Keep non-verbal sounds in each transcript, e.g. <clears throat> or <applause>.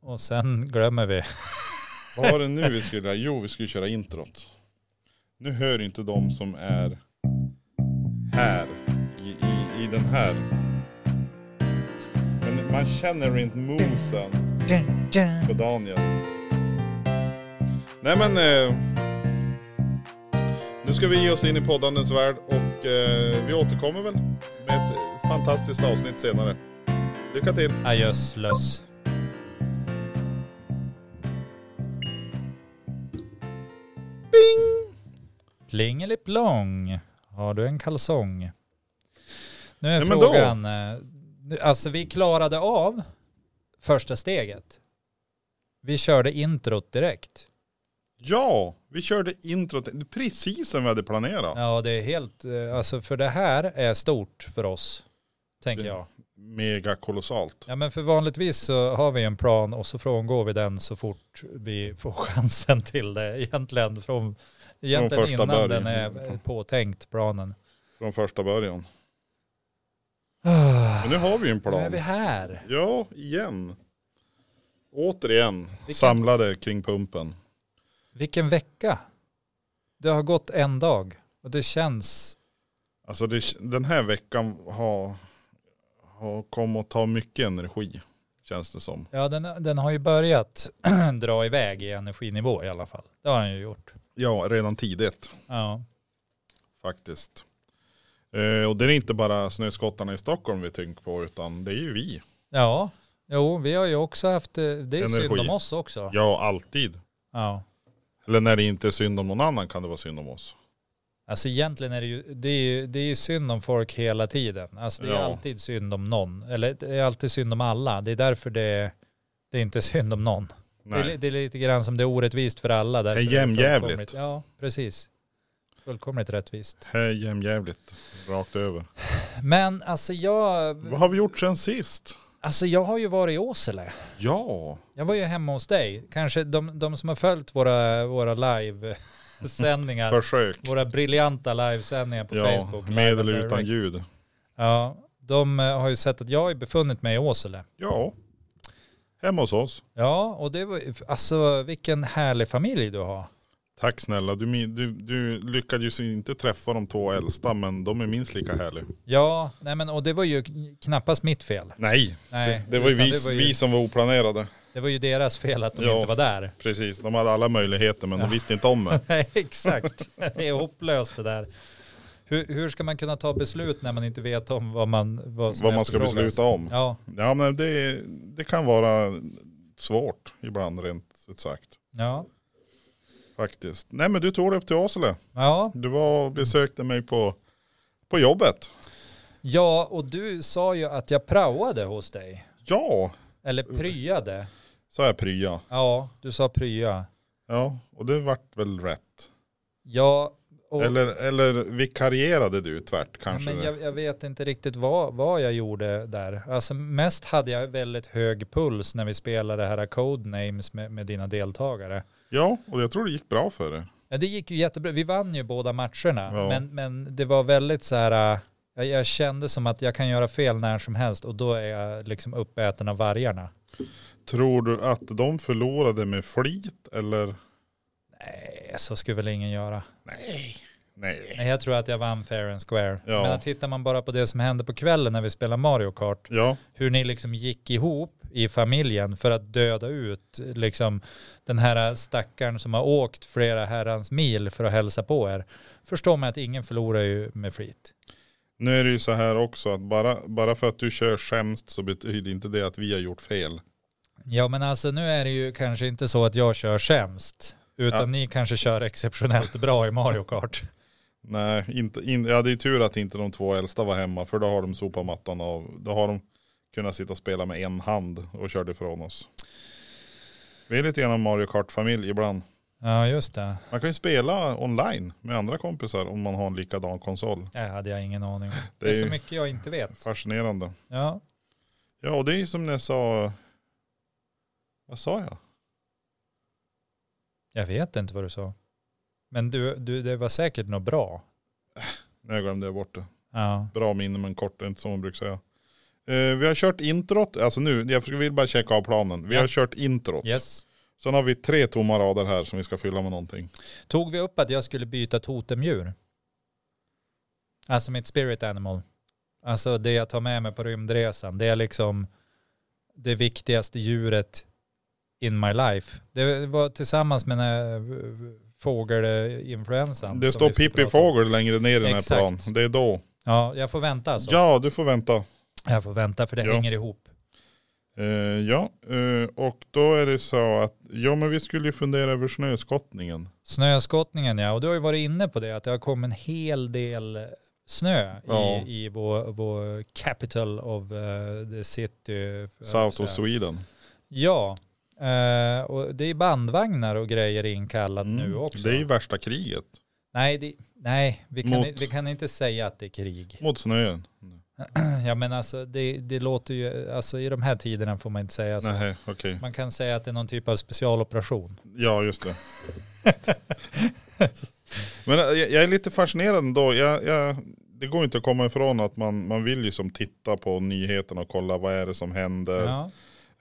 Och sen glömmer vi. Vad var det nu vi skulle göra? Jo, vi skulle köra introt. Nu hör inte de som är här i, i, i den här. Men man känner rent mosen på Daniel. Nej men. Eh, nu ska vi ge oss in i poddandens värld och eh, vi återkommer väl med ett fantastiskt avsnitt senare. Lycka till! Adjöss löss. Bing! Plingeliplong. Har du en kalsong? Nu är Nej, men då. frågan. eh, nu- Alltså vi klarade av första steget. Vi körde introt direkt. Ja, vi körde introt precis som vi hade planerat. Ja det är helt, eh, alltså för det här är stort för oss. Tänker jag. Mega kolossalt. Ja men för vanligtvis så har vi en plan och så frångår vi den så fort vi får <laughs> chansen till det egentligen. Från, egentligen första innan början. den är påtänkt planen. Från första början. Ah, Men nu har vi ju en Nu är plan. vi här. Ja, igen. Återigen kan- samlade kring pumpen. Vilken vecka. Det har gått en dag och det känns, Alltså det, den här veckan har, har kommit att ta mycket energi. Känns det som. ja den, den har ju börjat <clears throat> dra iväg i energinivå i alla fall. Det har den ju gjort. Ja, redan tidigt Ja. faktiskt. Eh, och det är inte bara snöskottarna i Stockholm vi tänker på utan det är ju vi. ja, jo vi har ju också haft, eh, det är synd Energi. om oss också. Ja, alltid. Ja. Eller när det inte är synd om någon annan kan det vara synd om oss. Alltså egentligen är det ju, det är ju det är ju synd om folk hela tiden. Alltså det är Ja. alltid synd om någon. Eller det är alltid synd om alla. Det är därför det, det är inte synd om någon. Det är, li- Nej. det är lite grann som det är orättvist för alla. därför Det är fullkomligt- jämjävligt. Ja, precis. Fullkomligt rättvist. Här är jämnjävligt. Rakt över. Men alltså jag, Vad har vi gjort sen sist? alltså jag har ju varit i Åsele. Ja. Jag var ju hemma hos dig. Kanske de, de som har följt våra, våra <laughs> livesändningar, Försök. våra briljanta livesändningar på Ja, Facebook. med Live eller Direct. utan ljud. Ja, de eh, har ju sett att jag har befunnit mig i Åsele. Ja. Hemma hos oss. Ja, och det var ju- alltså vilken härlig familj du har. Tack snälla. Du, min- du, du lyckades ju inte träffa de två äldsta men de är minst lika härliga. Ja, nej men och det var ju knappast mitt fel. Nej, Nej, det, det var ju, utan vi, det var ju- vi som var oplanerade. Det var ju deras fel att de Ja. inte var <laughs> där. Precis, de hade alla möjligheter men de visste inte om det. Nej, exakt. Det är hopplöst det där. Hur, hur ska man kunna ta beslut när man inte vet om vad man, vad <laughs> som vad man ska efterfrågas? besluta om. Ja, Ja, men det, det kan vara svårt ibland rent ut sagt. ja, Faktiskt. Nej men du tog det upp till Åsele. ja. Du var och besökte mig på, på jobbet. Ja, och du sa ju att jag praoade hos dig. Ja, Eller pryade. sa jag prya. Ja, du sa prya. Ja, och det vart väl rätt. Ja, och... Eller, eller vikarierade du tvärt kanske? Men jag, jag vet inte riktigt vad, vad jag gjorde där. Alltså mest hade jag väldigt hög puls när vi spelade det här Codenames med, med dina deltagare. Ja, och jag tror det gick bra för det. Ja, det gick ju jättebra. Vi vann ju båda matcherna. Ja. Men, men det var väldigt så här, äh, jag, jag kände som att jag kan göra fel när som helst och då är jag liksom uppäten av vargarna. Tror du att de förlorade med flit eller? Nej, så skulle väl ingen göra. Nej. Nej. Nej, jag tror att jag vann fair and square. Ja. Men tittar man bara på det som hände på kvällen när vi spelade Mario Kart Ja, hur ni liksom gick ihop i familjen för att döda ut liksom den här stackaren som har åkt flera herrans mil för att hälsa på er. Förstår man att ingen förlorar ju med flit. nu är det ju så här också att bara, bara för att du kör skämst så betyder inte det att vi har gjort fel. Ja men alltså nu är det ju kanske inte så att jag kör sämst utan Ja. ni kanske kör exceptionellt bra i Mario Kart. Nej, inte, in, ja, det är tur att inte de två äldsta var hemma för då har de sopat mattan av. Då har de kunnat sitta och spela med en hand och körde ifrån oss. Vi är lite grann en Mario Kart-familj ibland. Ja just det. Man kan ju spela online med andra kompisar om man har en likadan konsol. Det hade jag ingen aning om. Det Det är är så ju mycket jag inte vet. fascinerande. Ja. Ja och det är ju som jag sa, vad sa jag? Jag vet inte vad du sa. Men du, du det var säkert något bra. Nej jag glömde bort det. Ja. Bra minne men kort, det är inte som man brukar säga. Eh, vi har kört introt, alltså nu, jag vill bara checka av planen. Vi Ja. har kört introt. Yes. Sen har vi tre tomma rader här som vi ska fylla med någonting. Tog vi upp att jag skulle byta totemdjur? Alltså mitt spirit animal. Alltså det jag tar med mig på rymdresan. Det är liksom det viktigaste djuret in my life. Det var tillsammans med den här eh, fågelinfluensan. det som står vi skulle Pippi prata om. Fågel längre ner i den här Exakt. planen. Det är då. Ja, jag får vänta alltså. Ja, du får vänta. Jag får vänta för det Ja. hänger ihop. Eh, ja, eh, och då är det så att, ja men vi skulle ju fundera över snöskottningen. Snöskottningen ja, och du har ju varit inne på det att det har kommit en hel del eh, snö Ja. i, i vår, vår capital of eh, the city. South of Så här. Sweden. Ja, eh, och det är bandvagnar och grejer inkallat Mm. nu också. Det är ju värsta kriget. Nej, det, nej vi, kan, Mot- i- vi kan inte säga att det är krig. Mot snöen. Ja, men alltså, det, det låter ju, alltså, i de här tiderna får man inte säga så. Nej, okej. Man kan säga att det är någon typ av specialoperation. Ja, just <laughs> det. Men eh, jag, jag är lite fascinerad ändå. Jag, jag, det går inte att komma ifrån att man, man vill ju som titta på nyheterna och kolla vad är det som händer. Ja.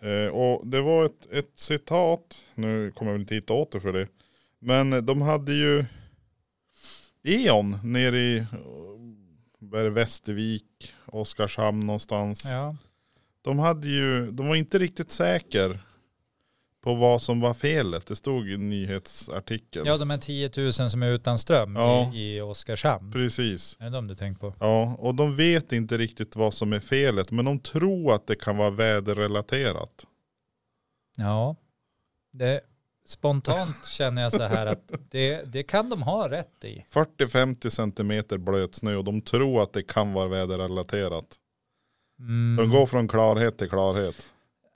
Eh, och det var ett, ett citat, nu kommer jag väl inte hitta åter för det. Men de hade ju Eon nere i eh, vad är det, Västervik, Oskarshamn någonstans. Ja. De hade ju, de var inte riktigt säker på vad som var felet. Det stod i nyhetsartikeln. ja, de här 10 000 som är utan ström Ja. i, i Oskarshamn. Precis. Är det de du tänker på? Ja, och de vet inte riktigt vad som är felet. Men de tror att det kan vara väderrelaterat. Ja, det, spontant <laughs> känner jag så här <laughs> att det, det kan de ha rätt i. 40-50 centimeter blöt snö och de tror att det kan vara väderrelaterat. Mm. De går från klarhet till klarhet.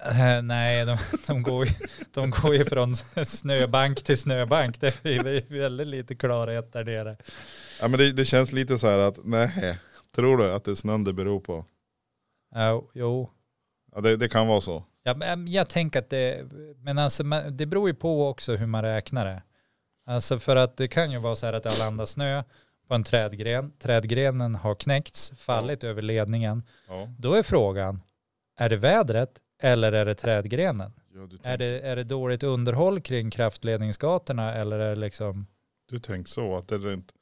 Eh, Nej, de, de, går ju, de går ju från <laughs> snöbank till snöbank. Det är väldigt lite klarhet där nere. Ja, men det, det känns lite så här att nej, tror du att det är snön det beror på? Ja, jo. Ja, det, det kan vara så. Ja, men jag tänker att det, men alltså, man- det beror ju på också hur man räknar det. Alltså för att det kan ju vara så här att det har landat snö på en trädgren. Trädgrenen har knäckts, fallit över ledningen. Ja, Då är frågan, är det vädret eller är det trädgrenen? ja du, Är tänk, det, är det dåligt underhåll kring kraftledningsgatorna eller är det liksom du tänkte så att det, är inte,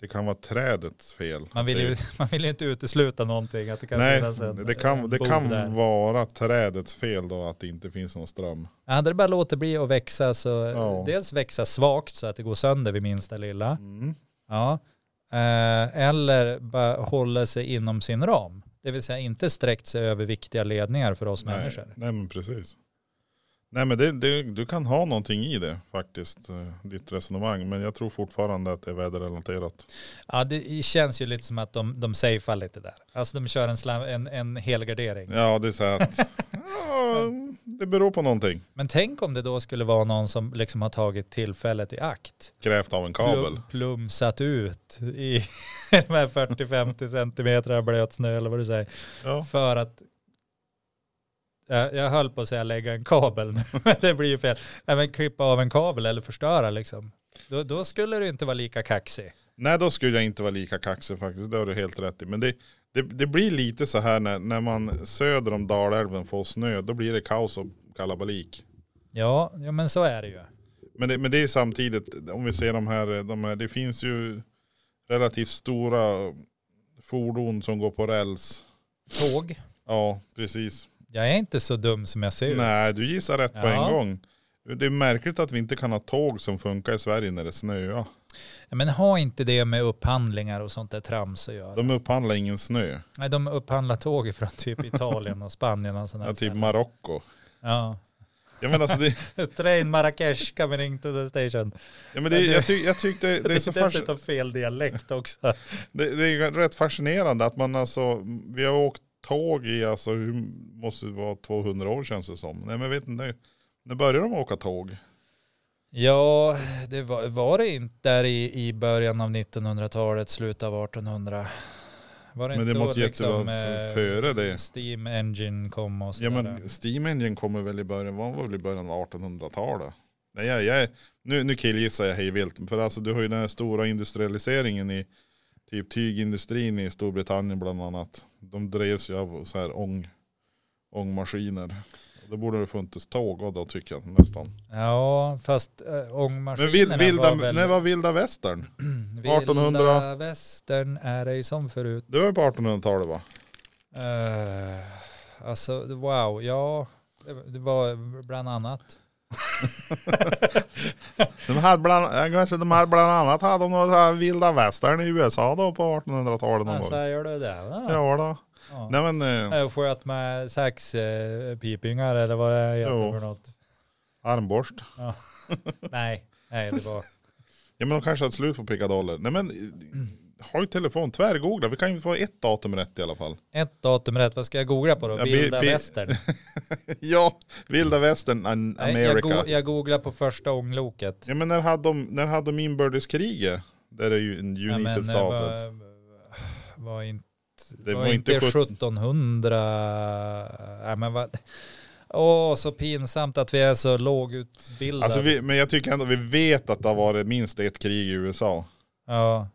det kan vara trädets fel. Man vill, det, ju, <laughs> man vill ju inte utesluta någonting. Att det kan nej, finnas en, det kan, det en bod där. kan vara trädets fel då att det inte finns någon ström. Hade det bara låtit bli att växa så Ja. dels växa svagt så att det går sönder vid minsta lilla. Mm. Ja. Eh, eller bara hålla sig inom sin ram. Det vill säga inte sträckt sig över viktiga ledningar för oss Nej, människor. nej, men precis. Nej, men det, det, du kan ha någonting i det faktiskt, eh, ditt resonemang. Men jag tror fortfarande att det är väderrelaterat. Ja, det känns ju lite som att de, de safear lite där. Alltså de kör en, slam, en, en helgardering. Ja, det är så här <laughs> att ja, det beror på någonting. Men tänk om det då skulle vara någon som liksom har tagit tillfället i akt. Krävt av en kabel. Plum, plumsat ut i <laughs> de här 40-50 centimeter blöt snö eller vad du säger. Ja. För att jag, jag höll på att säga lägga en kabel nu, <laughs> men det blir ju fel. Nej, men klippa av en kabel eller förstöra liksom. Då, då skulle du inte vara lika kaxig. Nej, då skulle jag inte vara lika kaxig faktiskt. Det har du helt rätt i. Men det, det, det blir lite så här när, när man söder om Dalälven får snö. Då blir det kaos och kalabalik. Ja, ja men så är det ju. Men det, men det är samtidigt, om vi ser de här, de här, det finns ju relativt stora fordon som går på räls. Tåg. Ja, precis. Jag är inte så dum som jag ser ut. Nej, du gissar rätt på Ja. en gång. Det är märkligt att vi inte kan ha tåg som funkar i Sverige när det snöar. Men ha inte det med upphandlingar och sånt där trams att göra. De upphandlar ingen snö. Nej, de upphandlar tåg från <laughs> typ Italien och Spanien och sådana Ja, typ ställen. Marocko. Ja. <laughs> Jag menar, alltså det, Train Marrakesh coming to the station. ja, men det, jag, tyck, jag tyckte det, <laughs> Det är är så fas, dessutom fel dialekt också. det, det är rätt fascinerande att man alltså, vi har åkt tåg i, alltså hur måste det vara 200 år känns det som. Nej men vet inte, när började de åka tåg? Ja, det var, var det inte där i, i början av 1900-talet, slutet av 1800? Var det Men det inte måste då ju inte vara f- eh, före det. Steam Engine kom och Ja sådär. men Steam Engine kommer väl i början, var väl i början av 1800-talet. Nej jag, jag nu, nu killgissar jag hejvilt, för alltså du har ju den här stora industrialiseringen i typ tygindustrin i Storbritannien bland annat. De drevs ju av så här ång, ångmaskiner. Då borde det funnits tåg och då tycker jag nästan. Ja, fast äh, Men ångmaskinerna vil, vilda, var väl... när var vilda västern? Vilda 1800. västern är ej som förut. Det var ju på 1800-talet va? Uh, alltså, wow, ja. det- Det var bland annat. De hade bland, jag kan säga, de hade bland annat hade de några så här vilda västern i USA då på 1800-talet någon Alltså, gång. gör du det? Ja. Ja då. Ja. Nej men, eh, Jag sköt med saxpipingar eller vad det heter Jo. för något. armborst. Nej, nej det var... Ja men de kanske hade slut på pickadoller. Nej men, eh, ha ju telefon, tvärgoogla. Vi kan ju få ett datum rätt i alla fall. <laughs> Ett datum rätt, vad ska jag googla på då? Ja, bi- Vilda bi- västern? ja, vilda västern, an- Nej, jag, <laughs> America. go- jag googlar på första ångloket. Ja men när hade de, när hade de inbördeskriget? Där är ju en United men, eh, States. Var, var inte, Det var, var inte inte 17 1700. Nej, men vad, åh, så pinsamt att vi är så lågutbildade. Alltså vi, men jag tycker ändå vi vet att det har varit minst ett krig i USA. ja.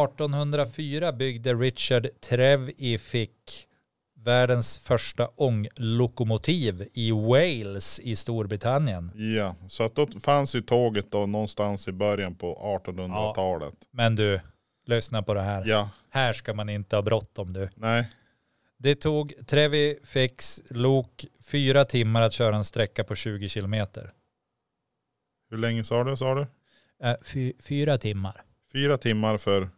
1804 byggde Richard Trevithick världens första ånglokomotiv i Wales i Storbritannien. Ja, så att då fanns ju tåget då någonstans i början på 1800-talet. Men du, lyssna på det här. Ja, Här ska man inte ha bråttom du. nej. Det tog Trevi Fix lok fyra timmar att köra en sträcka på 20 kilometer. Hur länge sa du? Sa du? Eh, fy, fyra timmar, Fyra timmar för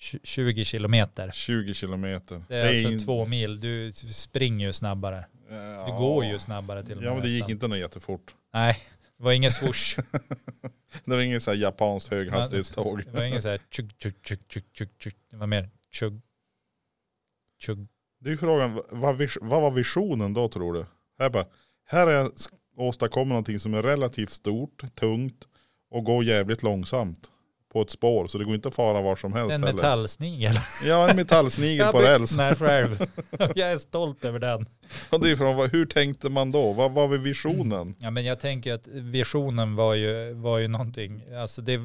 Tj- 20 kilometer. 20 kilometer. Det är alltså in- två mil, du springer ju snabbare. Ja. Du går ju snabbare till och med Ja men det gick nästan. inte något jättefort. <laughs> Nej, det var ingen swoosh. Det var inget så här japanskt höghastighetståg. Det var ingen så här tjugg, tjugg, tjugg, tjugg, tjugg, tjugg. Det var mer tjugg, tjugg. Det är ju frågan, vad, vis- vad var visionen då tror du? Här, bara, här har jag sk- åstadkommit någonting som är relativt stort, tungt och går jävligt långsamt på ett spår så det går inte att fara var som helst En heller. metallsnigel. Ja en <laughs> metallsnigel på räls. Jag har byggt den här själv. Jag är stolt över den. Och det är från, vad- hur tänkte man då? Vad var visionen? Ja, men jag tänker att visionen var ju, var ju någonting, alltså det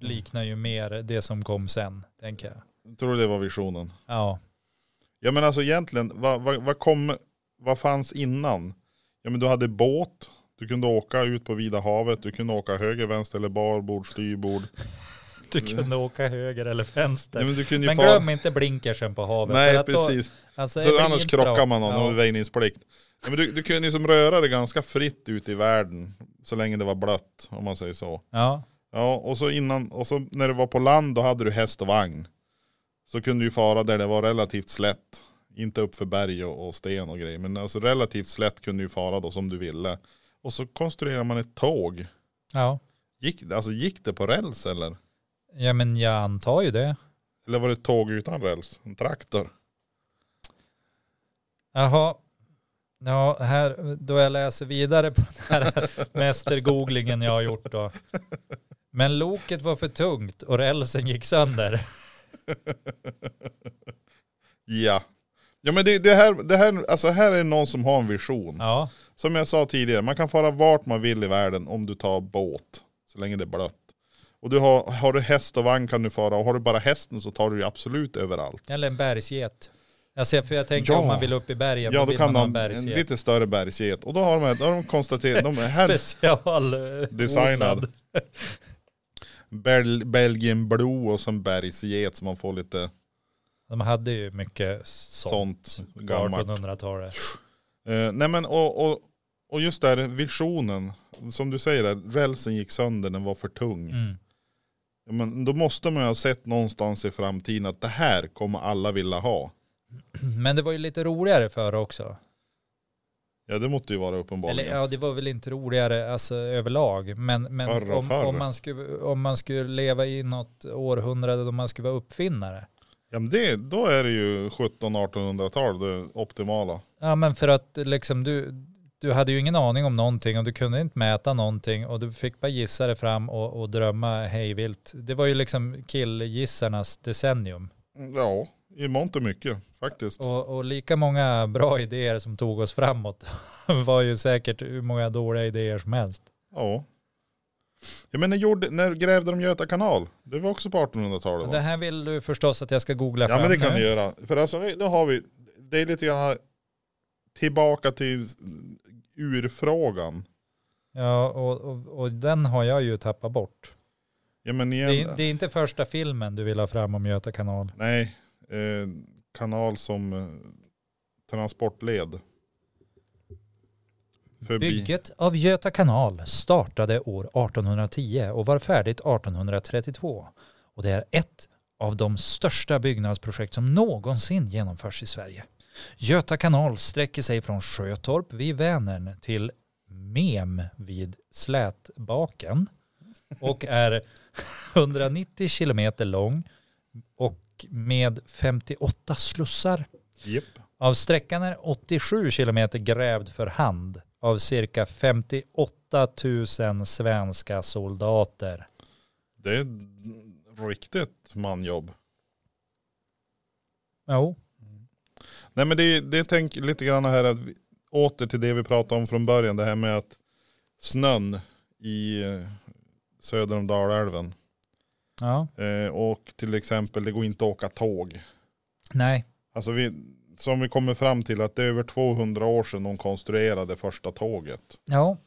liknar ju mer det som kom sen, tänker jag. Tror du det var visionen? Ja, Ja men alltså egentligen, vad, vad, vad, kom, vad fanns innan? Ja men du hade båt, du kunde åka ut på vida havet, du kunde åka höger, vänster eller barbord, styrbord. du Mm. kunde åka höger eller vänster. Nej, men du kunde ju men fara... glöm inte blinkersen på havet. för Mm. Nej att då- precis. alltså, Så det blir annars inte bra. krockar man någon Ja. med väjningsplikt. Ja, men du, du kunde ju som röra dig ganska fritt ute i världen. Så länge det var blött om man säger så. Ja, Ja och så innan, och så när du var på land då hade du häst och vagn. Så kunde du ju fara där det var relativt slätt. Inte upp för berg och, och sten och grejer. Men alltså relativt slätt kunde du ju fara då som du ville. Och så konstruerade man ett tåg. ja. Gick, alltså gick det på räls eller? ja, men jag antar ju det. Eller var det ett tåg utan räls? En traktor? Jaha. Ja, här, då jag läser vidare på den <laughs> här mästergooglingen jag har gjort då. Men loket var för tungt och rälsen gick sönder. Ja. Ja men det, det, här, det här, alltså här är någon som har en vision. Ja, Som jag sa tidigare, man kan fara vart man vill i världen om du tar båt. Så länge det är blött. Och du har, har du häst och vagn kan du fara och har du bara hästen så tar du ju absolut överallt. eller en bergsget. Alltså, för jag tänker Ja. om man vill upp i bergen, Ja då vill kan man ha en man ha en bergsget. lite större bergsget. Och då har de, då har de konstaterat, de är här Special. eh, Designad. odlad. <laughs> Bel, Belgien blå och som bergsget så man får lite De hade ju mycket sånt. sånt gammalt. 1800-talet. Eh, nej men och, och, och just där visionen, som du säger där, rälsen gick sönder, den var för tung. Mm. Ja, Men då måste man ju ha sett någonstans i framtiden att det här kommer alla vilja ha. Men det var ju lite roligare förr också. Ja det måste ju vara Eller uppenbarligen. ja, det var väl inte roligare alltså, överlag. Men, men Förr och om, förr. Om, man skulle, om man skulle leva i något århundrade då man skulle vara uppfinnare. Ja, men det, då är det ju 1700-1800-tal det optimala. Ja, men för att liksom du, du hade ju ingen aning om någonting och du kunde inte mäta någonting och du fick bara gissa dig fram och, och drömma hejvilt. Det var ju liksom killgissarnas decennium. Ja, i mångt och mycket faktiskt. Och, och lika många bra idéer som tog oss framåt <laughs> var ju säkert hur många dåliga idéer som helst. Ja. Ja men när, gjorde, när grävde de Göta kanal? Det var också på 1800-talet Det va? här vill du förstås att jag ska googla Ja men det fram kan nu. ni göra. För alltså nu har vi, det är lite grann tillbaka till urfrågan. Ja, och, och, och den har jag ju tappat bort. Ja, men igen, Det är, det är inte första filmen du vill ha fram om Göta kanal. Nej, eh, kanal som eh, transportled. Förbi. Bygget av Göta kanal startade år 1810 och var färdigt 1832. Och det är ett av de största byggnadsprojekt som någonsin genomförs i Sverige. Göta kanal sträcker sig från Sjötorp vid Vänern till Mem vid Slätbaken och är <laughs> 190 kilometer lång och med 58 slussar. Japp. Av sträckan är 87 kilometer grävd för hand av cirka 58 000 svenska soldater. Det är ett riktigt manjobb. Jo, Nej men det, det tänk lite grann här att vi, åter till det vi pratade om från början. Det här med att snön i eh, söder om Dalälven. ja, Eh, och till exempel det går inte att åka tåg. nej, Alltså vi, som vi kommer fram till att det är över 200 år sedan de konstruerade första tåget. ja,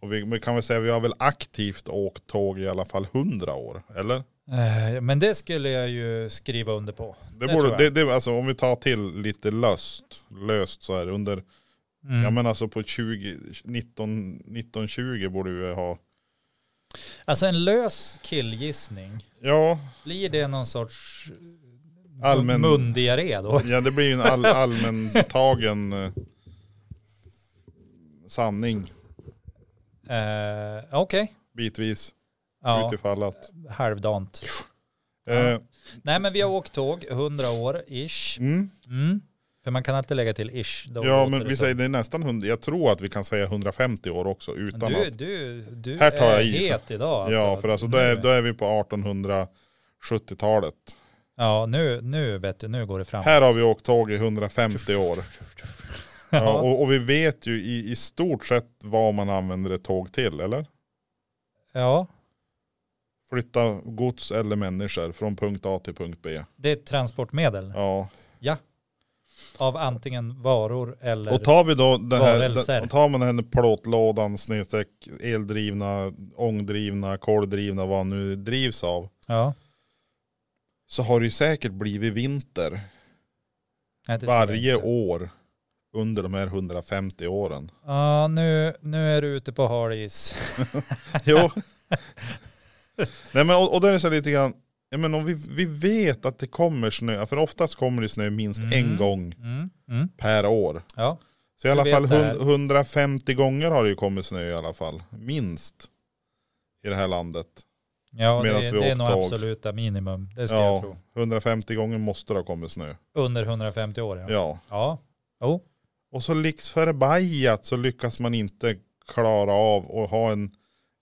Och vi, vi kan väl säga att vi har väl aktivt åkt tåg i alla fall 100 år, eller? Eh, men det skulle jag ju skriva under på. Det Det tror borde, jag. det, det, alltså, om vi tar till lite löst, löst så här under, Mm. ja men alltså på 20, 19, 1920 borde vi ha, Alltså en lös killgissning, ja, blir det någon sorts Allmän- Allmän... mundiarré då? ja det blir ju en <laughs> all, allmäntagen eh, sanning Eh, Okej, bitvis, ja, utifallat. halvdant. Eh, Nej men vi har åkt tåg, 100 år ish. mm. Mm. För man kan alltid lägga till ish. Då Ja låter men det vi som- säger det är nästan 100, jag tror att vi kan säga 150 år också utan att Du, du, du Här tar är jag i. het idag. Alltså. Ja, för alltså då är, då är vi på 1870-talet. Ja, nu, nu vet du, nu går det fram. Här har vi åkt tåg i <laughs> 150 år. Ja, Ja. och, och vi vet ju i, i stort sett vad man använder ett tåg till, eller? Ja, Flytta gods eller människor från punkt A till punkt B. det är ett transportmedel Ja. av antingen varor eller... Och tar vi då den här, Varelser. den, tar man den här plåtlådan, snedstreck, eldrivna, ångdrivna, koldrivna, vad han nu drivs av. ja, Så har det ju säkert blivit vinter nej, det tror jag varje inte. år under de här 150 åren. Ja, nu, nu är du ute på hal is. Jo. <laughs> Nej men och, och då är det så här lite grann, ja, men om vi, vi vet att det kommer snö, för oftast kommer det snö minst Mm. en gång Mm, mm, per år. ja. Så i alla vet fall det här. hun- 150 gånger har det ju kommit snö i alla fall, minst. I det här landet. Ja, Medan det, vi det är åkt nog tåg. absoluta minimum. Det ska Ja. jag tro. 150 gånger måste det ha kommit snö. Under 150 år, ja. Ja. Ja, Jo. Och så liks förbajat så lyckas man inte klara av att ha en,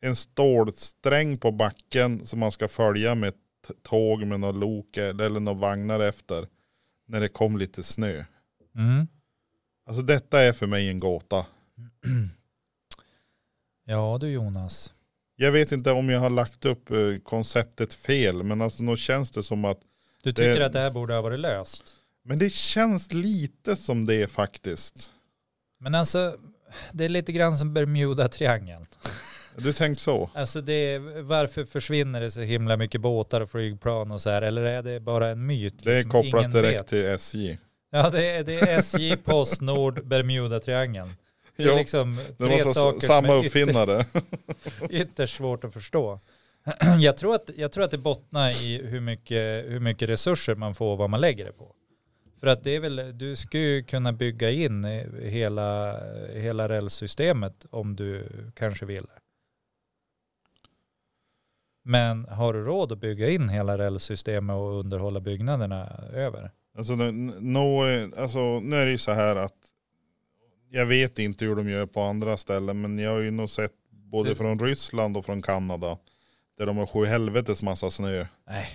en stålsträng på backen som man ska följa med t- tåg med någon lok eller eller några vagnar efter. När det kom lite snö. Mm. Alltså detta är för mig en gåta. ja, du Jonas. Jag vet inte om jag har lagt upp eh, konceptet fel men alltså nog känns det som att Du tycker att det här borde ha varit löst? men det känns lite som det faktiskt. Men alltså, det är lite grann som Bermuda-triangeln. Du tänkt så? Alltså det är, varför försvinner det så himla mycket båtar och flygplan och så här? Eller är det bara en myt? Det är liksom? kopplat Ingen direkt vet. till SJ. Ja, det är, det är SJ, Postnord, Bermuda-triangeln. Det är Jo, liksom Det tre var så saker samma som är uppfinnare. Ytterst, ytterst svårt att förstå. Jag tror att, jag tror att det bottnar i hur mycket, hur mycket resurser man får och vad man lägger det på. För att det är väl, du skulle ju kunna bygga in eh, hela, hela rälssystemet om du kanske vill. Men har du råd att bygga in hela rälssystemet och underhålla byggnaderna över? Alltså, nu- nu- nu- alltså, nu är det ju så här att jag vet inte hur de gör på andra ställen men jag har ju nog sett både Det- från Ryssland och från Kanada där de har sju helvetes massa snö. Nej,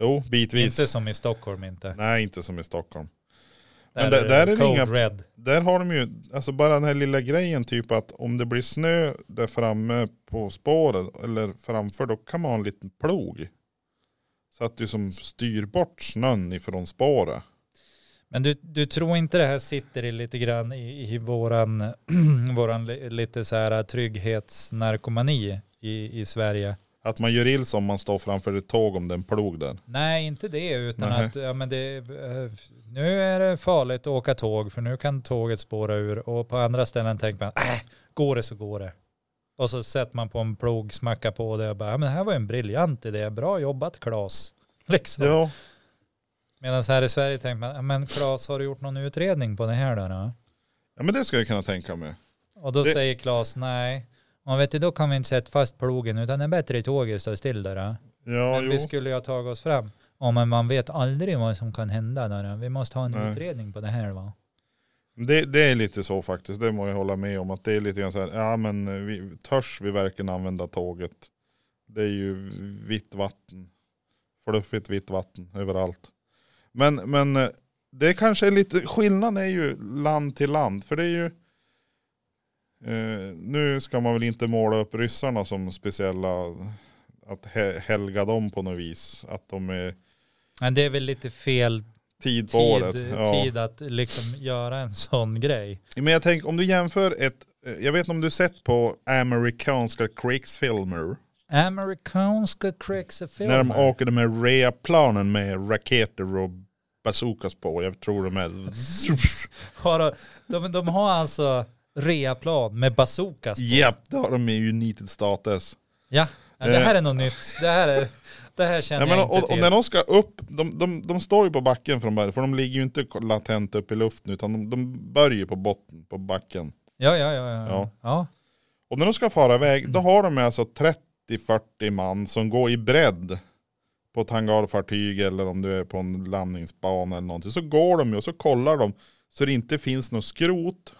Jo, bitvis. inte som i Stockholm inte. Nej, inte som i Stockholm. Där, Men där- där är det är det inga- inga... red. Där har de ju, alltså bara den här lilla grejen typ att om det blir snö där framme på spåret eller framför då kan man ha en liten plog. Så att du som styr bort snön ifrån spåret. Men du, du tror inte det här sitter i lite grann i, i våran, <clears throat> våran li- lite så här trygghetsnarkomani i, i Sverige? Att man gör ill som man står framför ett tåg om den plog där. Nej, inte det, utan Nej. att ja, men det, eh, nu är det farligt att åka tåg för nu kan tåget spåra ur och på andra ställen tänker man, äh, går det så går det. Och så sätter man på en plog, smackar på det och bara, "Ja, men det här var ju en briljant idé, bra jobbat Claes. <laughs> Liksom. Ja. Medan här i Sverige tänker man, "Ja, men Claes har du gjort någon utredning på det här då? då? ja men det ska jag kunna tänka mig. Och då Det- säger Claes, nej, och vet du, då kan vi inte sätta fast plogen utan det är bättre i tåget står still där. Då. Ja, men jo. vi skulle ju ha tagit oss fram. Ja, men man vet aldrig vad som kan hända. Där. eh. Vi måste ha en Nej. utredning på det här va? Det, det är lite så faktiskt. Det må jag hålla med om. Att det är lite grann så här, ja men eh, vi, törs vi verkligen använda tåget? Det är ju vitt vatten. Fluffigt vitt vatten överallt. Men, men eh, det kanske är lite, skillnaden är ju land till land. För det är ju, eh, nu ska man väl inte måla upp ryssarna som speciella, att he, helga dem på något vis. Att de är Men det är väl lite fel tid på tid, eh, året. Ja. tid att liksom göra en sån grej. Men jag tänker om du jämför ett, eh, jag vet inte om du sett på amerikanska krigsfilmer. Amerikanska När de krigsfilmer. åker de här rea-planen med raketer och bazookas på. Jag tror de är... <laughs> Har de- De, de har alltså reaplan med bazookas. Japp, det har de i United States. Ja, ja det här är något nytt. Det här, är, det här känner Eh. Nej, men, jag och, inte och till. när de ska upp, de, de, de står ju på backen från början. För de ligger ju inte latent upp i luften utan de, de börjar ju på botten, på backen. Ja, ja, ja. ja. ja. Ja. ja. Och när de ska fara iväg, då har de alltså 30-40 man som går i bredd på ett hangarfartyg eller om du är på en landningsbana eller någonting. Så går de ju och så kollar de så det inte finns något skrot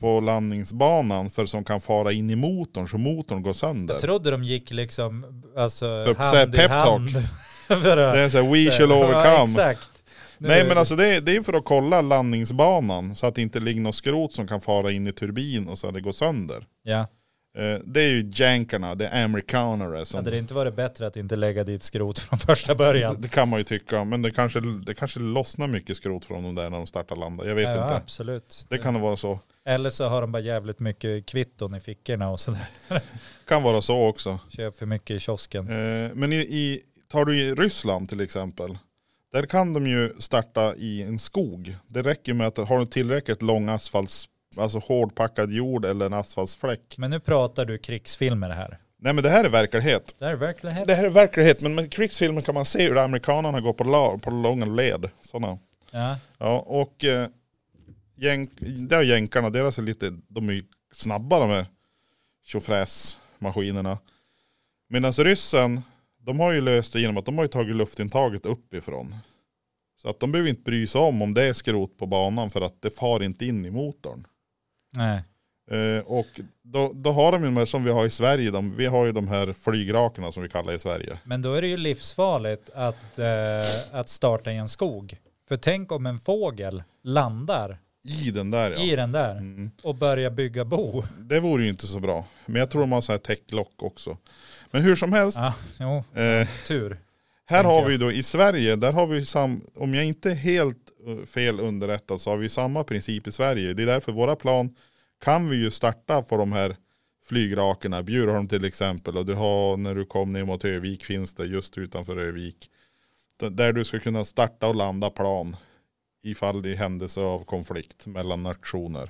på landningsbanan för som kan fara in i motorn så motorn går sönder. Jag trodde de gick liksom alltså, För- så här hand i peptalk. hand. <laughs> för att, Det är så här, we shall Ja, overcome. exakt. Nu- Nej men alltså det är, det är för att kolla landningsbanan så att det inte ligger något skrot som kan fara in i turbin och så att det går sönder. Ja, Eh, Det är ju jankarna, det är amerikanare som hade det inte varit bättre att inte lägga dit skrot <laughs> från första början? Det, det kan man ju tycka, men det kanske, det kanske lossnar mycket skrot från dem där när de startar landa. Jag vet ja, inte. absolut. Det kan vara så. Eller så har de bara jävligt mycket kvitton i fickorna och sådär. <laughs> kan vara så också. Köp för mycket i kiosken. Eh, men i, i, tar du i Ryssland till exempel, där kan de ju starta i en skog. Det räcker med att har du tillräckligt lång asfalts, alltså hårdpackad jord eller en asfaltsfläck. Men nu pratar du krigsfilmer här. Nej men det här är verklighet. Det här är verkligen Det här är verklighet, men med krigsfilmen kan man se hur amerikanerna går på, la, på långa led. Sådana. ja. Ja, och eh, jänk, där är jänkarna, deras är lite, de är ju snabba de här tjofräsmaskinerna. Medan ryssen, de har ju löst det genom att de har ju tagit luftintaget uppifrån. Så att de behöver inte bry sig om om det är skrot på banan för att det far inte in i motorn. Nej. Eh, och då, då har de ju de här som vi har i Sverige, de, vi har ju de här flygrakerna som vi kallar i Sverige. Men då är det ju livsfarligt att, eh, att starta i en skog. För tänk om en fågel landar I den där ja. i den där Mm. och börjar bygga bo. Det vore ju inte så bra. Men jag tror de har så här täcklock också. Men hur som helst. Ja, jo, Eh, tur. Här har tänker vi då i Sverige, där har vi sam, om jag inte är helt eh, fel underrättad så har vi samma princip i Sverige. Det är därför våra plan kan vi ju starta på de här flygrakerna, Bjurholm till exempel och du har när du kom ner mot Övik finns det just utanför Övik. D- Där du ska kunna starta och landa plan ifall det är händelse av konflikt mellan nationer.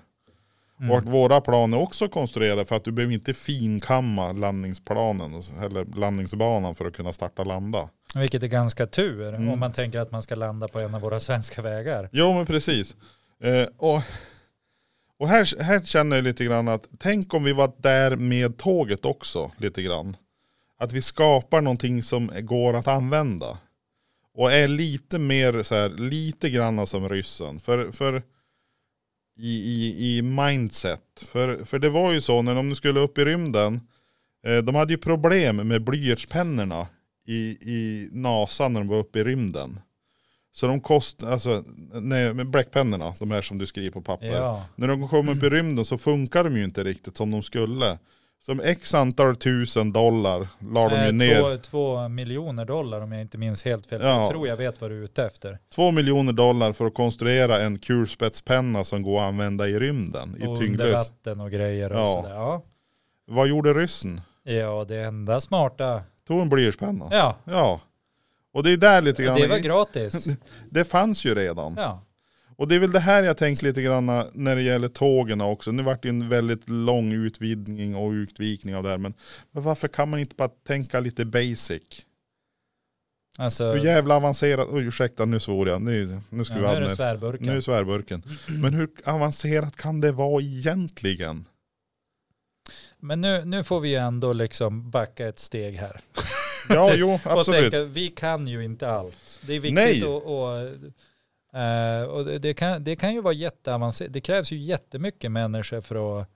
Och att våra plan är också konstruerade för att du behöver inte finkamma landningsplanen eller landningsbanan för att kunna starta och landa. Vilket är ganska tur Mm. om man tänker att man ska landa på en av våra svenska vägar. Jo men precis. Eh, och och här, här känner jag lite grann att tänk om vi var där med tåget också lite grann. Att vi skapar någonting som går att använda. Och är lite mer så här, lite granna som ryssen. För, för i, i, i mindset. För, för det var ju så när de skulle upp i rymden. Eh, de hade ju problem med blyertspennorna i, i NASA när de var uppe i rymden. Så de kostar, alltså, nej, med bläckpennorna, de här som du skriver på papper. Ja. När de kom upp i rymden så funkar de ju inte riktigt som de skulle. Som x antal tusen dollar la de ju Nej, ner. Eh, två, två miljoner dollar om jag inte minns helt fel. Ja. Jag tror jag vet vad du är ute efter. Två miljoner dollar för att konstruera en kulspetspenna som går att använda i rymden i Och under tyngdlös. vatten och grejer och Ja. sådär. Ja. Vad gjorde ryssen? ja, det enda smarta. Tog en blyertspenna. Ja. Ja, Och det är där lite grann. det var <laughs> gratis. det fanns ju redan. Ja, Och det är väl det här jag tänker lite grann när det gäller tågen också. Nu vart det en väldigt lång utvidgning och utvikning av det här. Men, men varför kan man inte bara tänka lite basic? alltså. Hur jävla avancerat, oj ursäkta nu svor jag, nu, nu ska Ja, nu vi är ha det den- svärburken. nu är svärburken. Men hur avancerat kan det <laughs> vara egentligen? Men nu, nu får vi ju ändå liksom backa ett steg här. Ja, jo, Och absolut. tänka, vi kan ju inte allt. Det är Nej. viktigt att... Och, eh, och det, det, kan, det kan ju vara jätteavancerat. Det krävs ju jättemycket människor för att,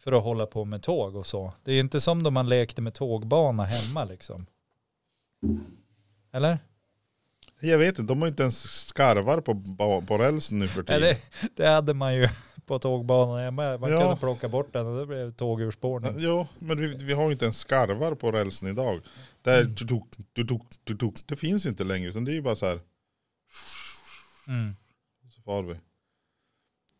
för att hålla på med tåg och så. Det är inte som då man lekte med tågbana hemma liksom. Eller? Jag vet inte, de har ju inte ens skarvar på, ba- på rälsen nu för Nej, tiden. det, det hade man ju <laughs> på tågbanan hemma. Man Ja. kunde plocka bort den och det blev tåg ur spåren. Jo, men vi, vi har ju inte ens skarvar på rälsen idag. Det, är Mm. tutuk, tutuk, tutuk, det finns ju inte längre, utan det är ju bara så här, Mm. så far vi.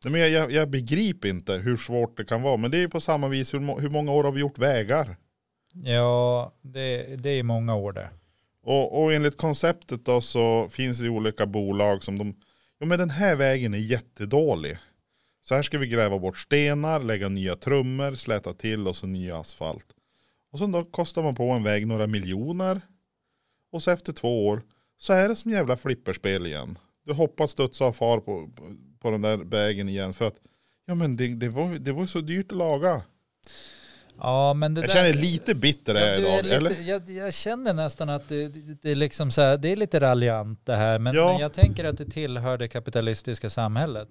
Nej, men jag, jag, jag begriper inte hur svårt det kan vara, men det är ju på samma vis, hur, må- hur många år har vi gjort vägar? Ja, det, det är många år det. Och, och enligt konceptet då så finns det ju olika bolag som de, ja men den här vägen är jättedålig. Så här ska vi gräva bort stenar, lägga nya trummor, släta till och så ny asfalt. Och sen då kostar man på en väg några miljoner. Och så efter två år så är det som jävla flipperspel igen. Du hoppas studsa och far på, på, på den där vägen igen för att ja men det, det var ju det var ju så dyrt att laga. Ja, men det Jag där... känner lite bitter är Ja, jag du är idag. lite, Eller? jag, jag känner nästan att det, det, det, är liksom så här, det är lite raljant det här, men, Ja. men jag tänker att det tillhör det kapitalistiska samhället.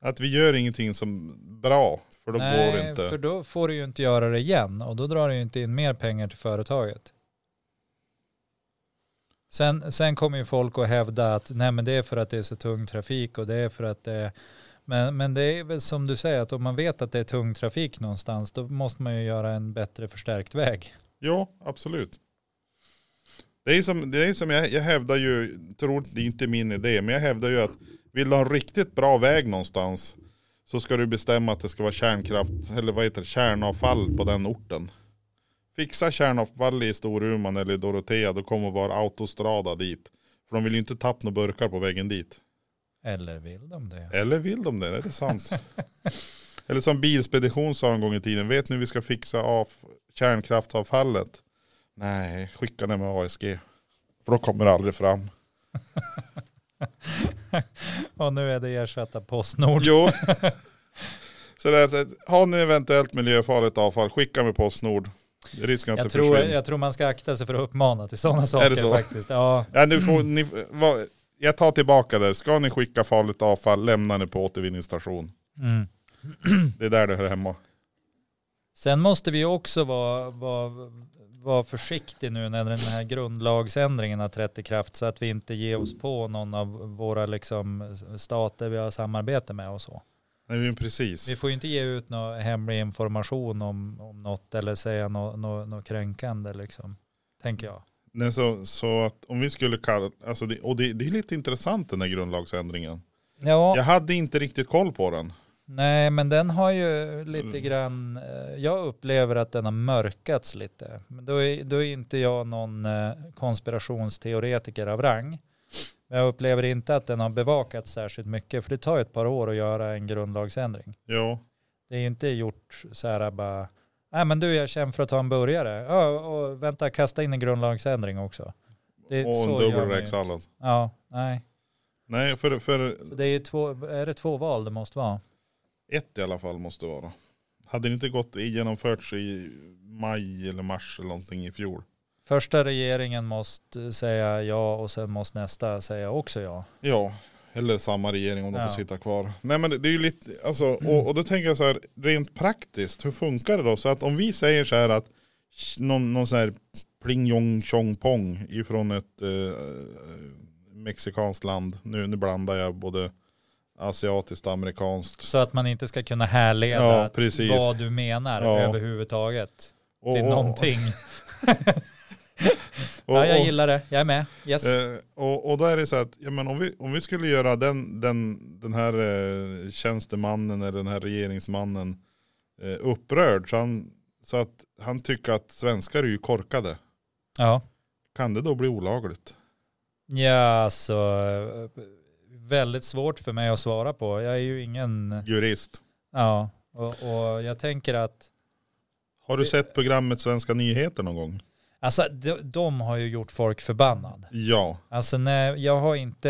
Att vi gör ingenting som bra för då Nej, går det inte. för då får du ju inte göra det igen och då drar du ju inte in mer pengar till företaget. Sen, sen kommer ju folk att hävda att nej men det är för att det är så tung trafik och det är för att det är men, men det är väl som du säger att om man vet att det är tung trafik någonstans då måste man ju göra en bättre förstärkt väg. Ja, absolut. Det är ju som, det är ju som jag, jag hävdar ju, tror det är inte min idé, men jag hävdar ju att vill du ha en riktigt bra väg någonstans så ska du bestämma att det ska vara kärnkraft, eller vad heter det, kärnavfall på den orten. Fixa kärnavfall i Storuman eller i Dorotea, då kommer vara autostrada dit. För de vill ju inte tappa några burkar på vägen dit. Eller vill de det? Eller vill de det? Är det <laughs> sant? Eller som Bilspedition sa en gång i tiden, vet ni hur vi ska fixa av kärnkraftavfallet? Nej, skicka det med ASG. För då kommer det aldrig fram. Och nu är det ersatta Postnord. Jo. <laughs> Så det är, så att, har ni eventuellt miljöfarligt avfall, skicka med Postnord. Risken att Jag det tror, försvinner. jag tror man ska akta sig för att uppmana till sådana saker det så? faktiskt. Ja, Ja, nu får ni, <clears throat> vad, jag tar tillbaka det. Ska ni skicka farligt avfall, lämna det på återvinningsstation. mm. Det är där det hör hemma. Sen måste vi också vara, vara, vara försiktiga nu när den här grundlagsändringen har trätt i kraft så att vi inte ger oss på någon av våra liksom stater vi har samarbete med och så. Nej, men precis. Vi får ju inte ge ut någon hemlig information om, om något eller säga något nå nå kränkande liksom, tänker jag. Nej, så, så att om vi skulle kalla, alltså det, och det, det är lite intressant den här grundlagsändringen. Ja, Jag hade inte riktigt koll på den. Nej, men den har ju lite Mm. grann, eh, jag upplever att den har mörkats lite. Men då är, då är inte jag någon eh, konspirationsteoretiker av rang. Men jag upplever inte att den har bevakats särskilt mycket, för det tar ju ett par år att göra en grundlagsändring. Ja, Det är ju inte gjort så här bara, nej men du jag är känd för att ta en burgare, ja, och vänta kasta in en grundlagsändring också. Det, och en så gör man ju. dubbelräkssallad. Ja, nej. Nej, för, för Så det är, två, är det två val det måste vara? ett i alla fall måste det vara. Hade det inte gått i- genomförts i maj eller mars eller någonting i fjol. Första regeringen måste säga ja och sen måste nästa säga också ja. Ja, eller samma regering om de Ja. får sitta kvar. Nej men det, det är ju lite, alltså, och, och då tänker jag så här, rent praktiskt, hur funkar det då? Så att om vi säger så här att sh- någon, någon sån här pling jong tjong pong ifrån ett eh, mexikanskt land, nu, nu blandar jag både asiatiskt, amerikanskt. Så att man inte ska kunna härleda Ja, precis. vad du menar Ja. överhuvudtaget Och, till någonting. och- ja, jag och- gillar det, jag är med. Yes. Eh, och, och då är det så att ja, men om, vi, om vi skulle göra den, den, den här eh, tjänstemannen eller den här regeringsmannen eh, upprörd så, han, så att han tycker att svenskar är ju korkade. Ja. Kan det då bli olagligt? ja, så eh, väldigt svårt för mig att svara på. Jag är ju ingen, Jurist. ja, och, och jag tänker att Har du sett programmet Svenska nyheter någon gång? Alltså de, de har ju gjort folk förbannad. Ja. Alltså nej, jag har inte,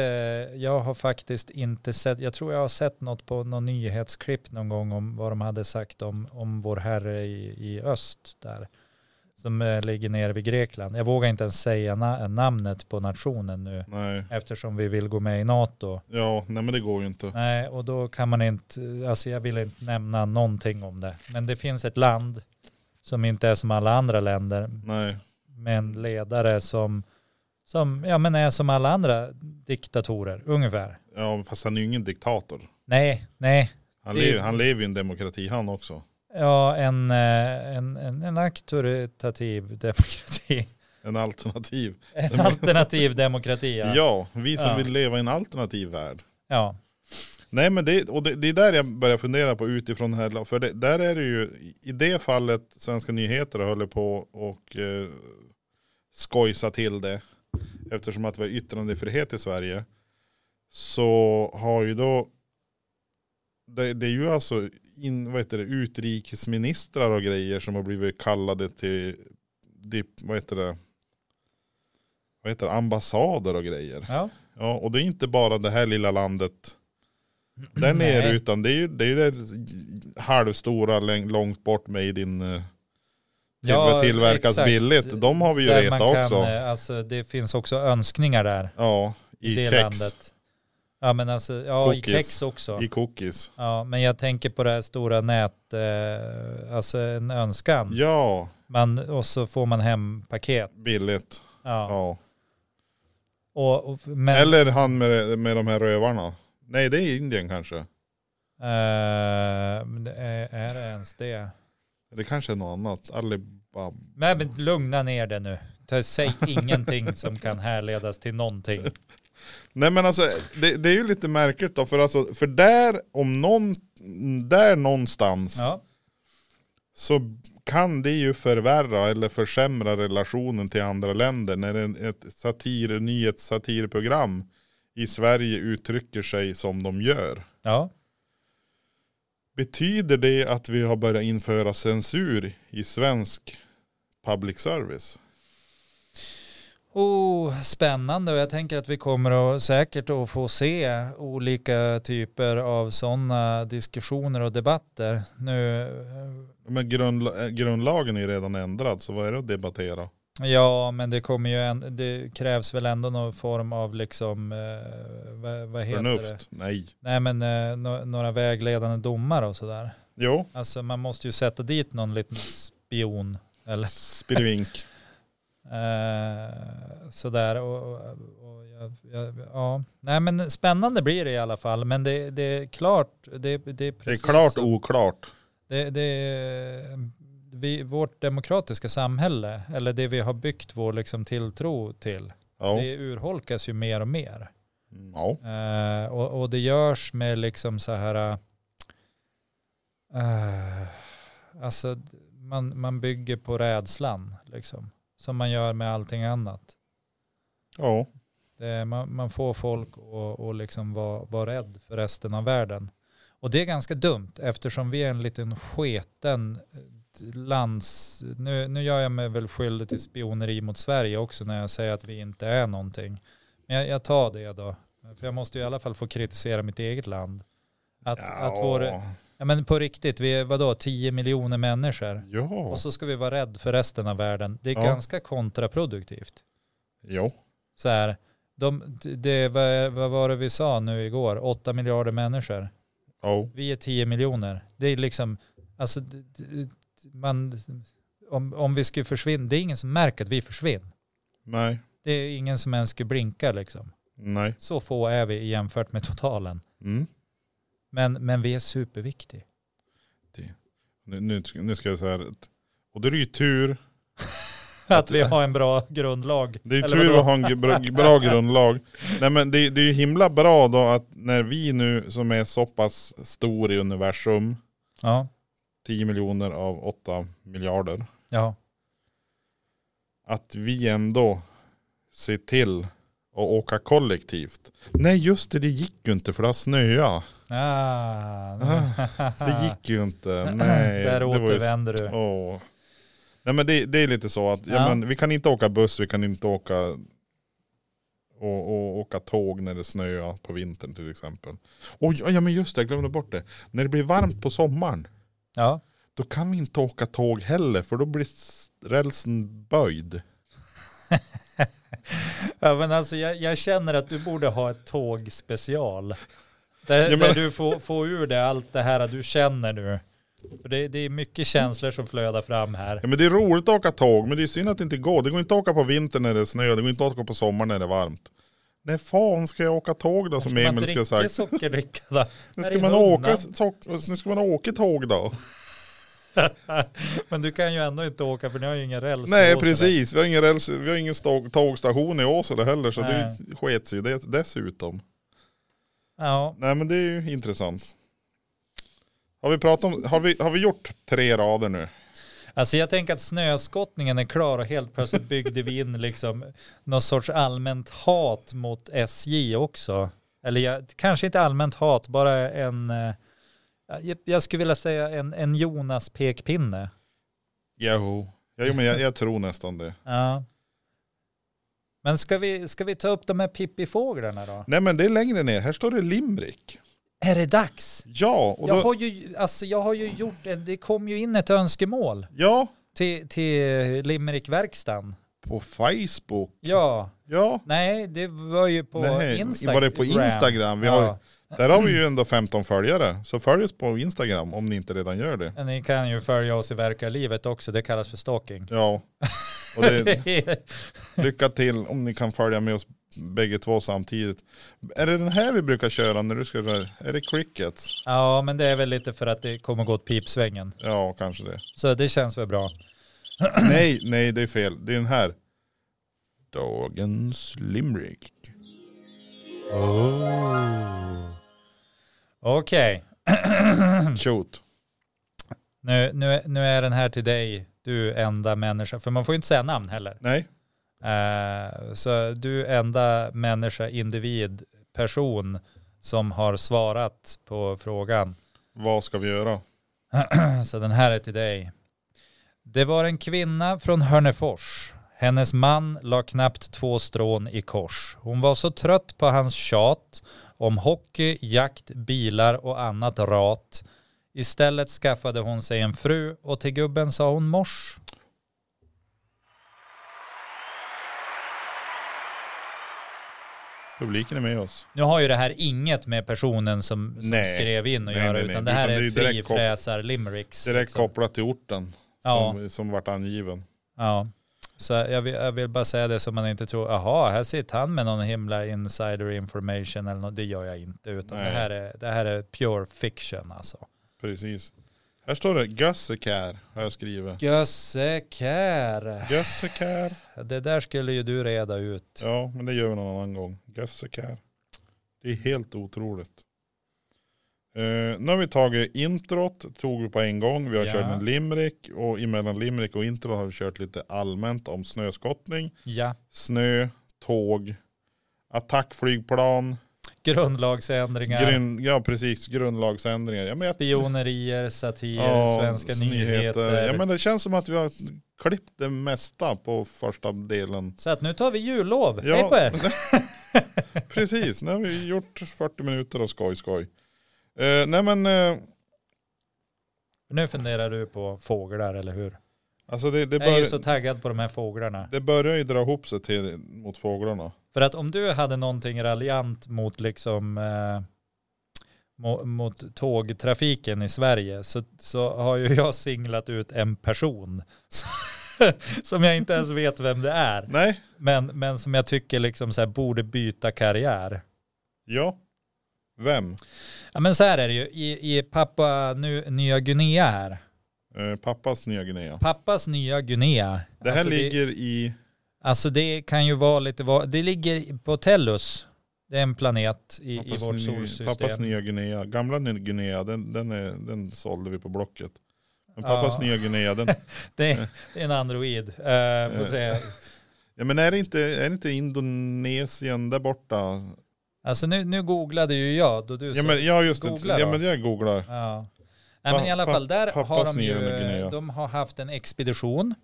jag har faktiskt inte sett, jag tror jag har sett något på någon nyhetsklipp någon gång om vad de hade sagt om, om vår herre i, i öst där. Som eh, ligger nere vid Grekland. Jag vågar inte ens säga na- namnet på nationen nu Nej. eftersom vi vill gå med i NATO. Ja, nej men det går ju inte. Nej, och då kan man inte, alltså jag vill inte nämna någonting om det. Men det finns ett land som inte är som alla andra länder, Nej. med en ledare som, som ja, men är som alla andra diktatorer, ungefär. Ja, fast han är ju ingen diktator. Nej, nej. Han, Det- lever, han lever ju i en demokrati han också. Ja, en, eh, en, en, en auktoritativ demokrati. En alternativ. <laughs> En alternativ demokrati, Ja, ja. vi som Ja. vill leva i en alternativ värld. ja. Nej men det, och det, det är där jag börjar fundera på utifrån den här, för det, där är det ju, i det fallet Svenska nyheter håller på och eh, skojsa till det, eftersom att vi har yttrandefrihet i Sverige, så har ju då, det, det är ju alltså in, vad heter det, utrikesministrar och grejer som har blivit kallade till, dip, vad heter det, vad heter det, ambassader och grejer. ja. Ja, och det är inte bara det här lilla landet där nere Nej. utan det är ju det, är ju det halvstora läng- långt bort med i din eh, till, Ja, tillverkas exakt. billigt. De har vi ju Där man retat kan, också. eh, Alltså, det finns också önskningar där ja, i i det kex. landet. Ja, men alltså, ja, i Cookies. kex också. I cookies. Ja, men jag tänker på det här stora nät, eh, alltså en önskan. Ja, Man, och så får man hem paket. billigt. Ja. Ja. Och, och, men, Eller han med, med de här rövarna. Nej det är Indien kanske. Eh, men det är, är det ens det? Det kanske är något annat. Alibaba. Nej men lugna ner det nu. Ta- Säg ingenting som kan härledas till någonting. Nej men alltså det, det är ju lite märkligt då. För, alltså, för där om någon, där någonstans. Ja, så kan det ju förvärra eller försämra relationen till andra länder när en- ett satir, nyhetssatirprogram i Sverige uttrycker sig som de gör. ja. Betyder det att vi har börjat införa censur i svensk public service? Oh, spännande och jag tänker att vi kommer att, säkert att få se olika typer av sådana diskussioner och debatter. Nu, Men grundla- eh, grundlagen är ju redan ändrad så vad är det att debattera? eh, ja men det kommer ju en, det krävs väl ändå någon form av liksom, eh, vad, vad heter det? Förnuft? Nej. Nej men eh, nå- några vägledande domar och sådär. Jo, Alltså man måste ju sätta dit någon liten spion eller <laughs> spillvink. eh, sådär. Och, och, och, jag- jag- ja. Nej men spännande blir det i alla fall. Men det, det är klart. Det, det, är, Det är precis klart som- oklart. det, det är, vi, Vårt demokratiska samhälle, eller det vi har byggt vår liksom, tilltro till, Ja. Mm, det urholkas ju mer och mer. ja. Eh, och, och det görs med liksom så här, eh, alltså d- man, man bygger på rädslan liksom. Som man gör med allting annat. ja. Det, eh, man, man får folk att att liksom vara var rädd för resten av världen. Och det är ganska dumt eftersom vi är en liten sketen eh, lands... Nu, nu gör jag mig väl skyldig till spioneri mot Sverige också när jag säger att vi inte är någonting. Men jag, jag tar det då. För jag måste ju i alla fall få kritisera mitt eget land. Att, att vår, ja men på riktigt, vi är vadå, 10 miljoner människor. Ja. Och så ska vi vara rädd för resten av världen. Det är Ja. ganska kontraproduktivt Jo. så här, de, det, vad, vad var det vi sa nu igår? 8 miljarder människor. Ja. Vi är 10 miljoner. Det är liksom, alltså, d- d- man, om, om vi skulle försvinna, det är ingen som märker att vi försvinner. Nej. Det är ingen som ens skulle blinka liksom. Nej. Så få är vi jämfört med totalen. Mm. Men, men vi är superviktig. Nu, nu, ska- nu ska jag säga att- Och då är det ju tur. <laughs> Att vi har en bra grundlag. Det är ju Eller tur vadå? att ha en gr- bra, bra grundlag. Nej men det, det är ju himla bra då att när vi nu som är så pass stor i universum, Ja, 10 miljoner av 8 miljarder, ja, att vi ändå ser till att åka kollektivt. Nej just det, det gick ju inte för det har snöat. <laughs> Ah, Det gick ju inte. Nej, Där det var ju återvänder du. Åh. Nej men det, det är lite så att ja. Ja. men, vi kan inte åka buss, vi kan inte åka och, och åka tåg när det snöar på vintern till exempel. Och ja, ja men just det, jag glömde bort det. När det blir varmt på sommaren, Ja, då kan vi inte åka tåg heller för då blir s- rälsen böjd. Ja, men alltså, jag, jag känner att du borde ha ett tågspecial. Där, Ja, men- där du får, får ur dig allt det här du känner nu. För det, det är mycket känslor som flödar fram här. Ja, men det är roligt att åka tåg, men det är synd att det inte går. Det går inte att åka på vintern när det snöar, det går inte att åka på sommaren när det är varmt. När fan ska jag åka tåg då som man Emil skulle ha dricker sagt? sockerdricka <laughs> då? Här Nu ska, i man munnen. åka, tåg- nu ska man åka tåg då? <laughs> Men du kan ju ändå inte åka för ni har ju ingen räls. Nej på Åsele. precis, vi har ingen, räls, vi har ingen stå- tågstation i Åsele heller så Nej. det sket sig ju det- dessutom. Ja, Nej men det är ju intressant. Har vi, pratat om, har vi, har vi gjort tre rader nu? alltså jag tänker att snöskottningen är klar och helt plötsligt byggde vi in liksom någon sorts allmänt hat mot SJ också. Eller jag, kanske inte allmänt hat, bara en, eh, jag, jag skulle vilja säga en, en Jonas pekpinne. Jo. Ja, jo men jag, jag tror nästan det. Ja. Men ska vi, ska vi ta upp de här pippifåglarna då? Nej men det är längre ner, här står det limrik. Är det dags? Ja, och Jag då, har ju, alltså jag har ju gjort, en- det kom ju in ett önskemål ja till, till Limerickverkstan. på Facebook. Ja, Ja, nej det var ju på nej, Instagram. var det på Instagram? Vi har, Ja, där har vi ju ändå 15 följare, så följ oss på Instagram om ni inte redan gör det. men ni kan ju följa oss i verkliga livet också, det kallas för stalking. <laughs> Ja, och det, Lycka till om ni kan följa med oss bägge två samtidigt. Är det den här vi brukar köra när du ska Är det crickets? ja, men det är väl lite för att det kommer gå åt pipsvängen. Ja, kanske det. Så det känns väl bra. nej, nej det är fel. Det är den här. Dagens limerick. Oh. Okej, Shoot. nu, nu, nu är den här till dig, du enda människa, för man får ju inte säga namn heller. Nej, Eh, så du är enda människa, individ, person som har svarat på frågan. vad ska vi göra? Så Alltså, den här är till dig. Det var en kvinna från Hörnefors. Hennes man la knappt två strån i kors. Hon var så trött på hans tjat om hockey, jakt, bilar och annat rat. Istället skaffade hon sig en fru och till gubben sa hon mors. Publiken är med oss. Nu har ju det här inget med personen som, som Nej. skrev in att Nej, göra nej, nej. utan det här Utan det är är ju direkt kop- frifräsar limericks. Direkt liksom. kopplat till orten Ja. som, som vart angiven. Ja, så jag vill, jag vill bara säga det som man inte tror, aha, här sitter han med någon himla insider information eller något, det gör jag inte, utan Nej. det här, är, det här är pure fiction alltså. Precis. Här står det Gössekär har jag skrivit. Gössekär, Gössekär. det där skulle ju du reda ut. Ja, men det gör vi någon annan gång. Gössekär. Det är helt otroligt. Eh, nu har vi tagit introt, tog vi på en gång. Vi har Ja. kört en limrik och emellan limrik och intro har vi kört lite allmänt om snöskottning, Ja, snö, tåg, attackflygplan, grundlagsändringar, grund, ja precis, grundlagsändringar. Ja, men jag, spionerier, satir, ja, svenska nyheter. Ja, men det känns som att vi har klippt det mesta på första delen. Så att nu tar vi jullov, Ja. hej på er! <laughs> Precis, nu har vi gjort 40 minuter av skoj skoj. Eh, nej men, eh, Nu funderar du på fåglar, eller hur? alltså det, det, Jag är ju bör, så taggad på de här fåglarna. det börjar ju dra ihop sig till, mot fåglarna. För att om du hade någonting raljant mot liksom eh, mo- mot tågtrafiken i Sverige så, så har ju jag singlat ut en person <laughs> som- som jag inte ens vet vem det är. Nej, Men, men som jag tycker liksom så här borde byta karriär. ja. Vem? Ja, men så här är det ju, i, i pappa nu, Nya Guinea här, Eh, pappas Nya Guinea. pappas Nya Guinea, Det här Alltså, det- ligger i... alltså det kan ju vara lite, va- det ligger på Tellus, det är en planet i, i Pappas, vårt ny, pappas solsystem. Nya Guinea. Gamla Nya Guinea, den, den, är, den sålde vi på Blocket. Men Ja. pappas Nya <laughs> Guinea, den... Det är, det är en android, Eh. uh, får se. Ja, men är det, inte, är det inte Indonesien där borta? Alltså nu, nu googlade ju jag då du Ja, sa- men, ja just Googla det. Ja, då. men jag googlar. Ja. Nej, Pa- men i alla pa- fall, där har pappas de nya Guinea. ju, de har haft en expedition.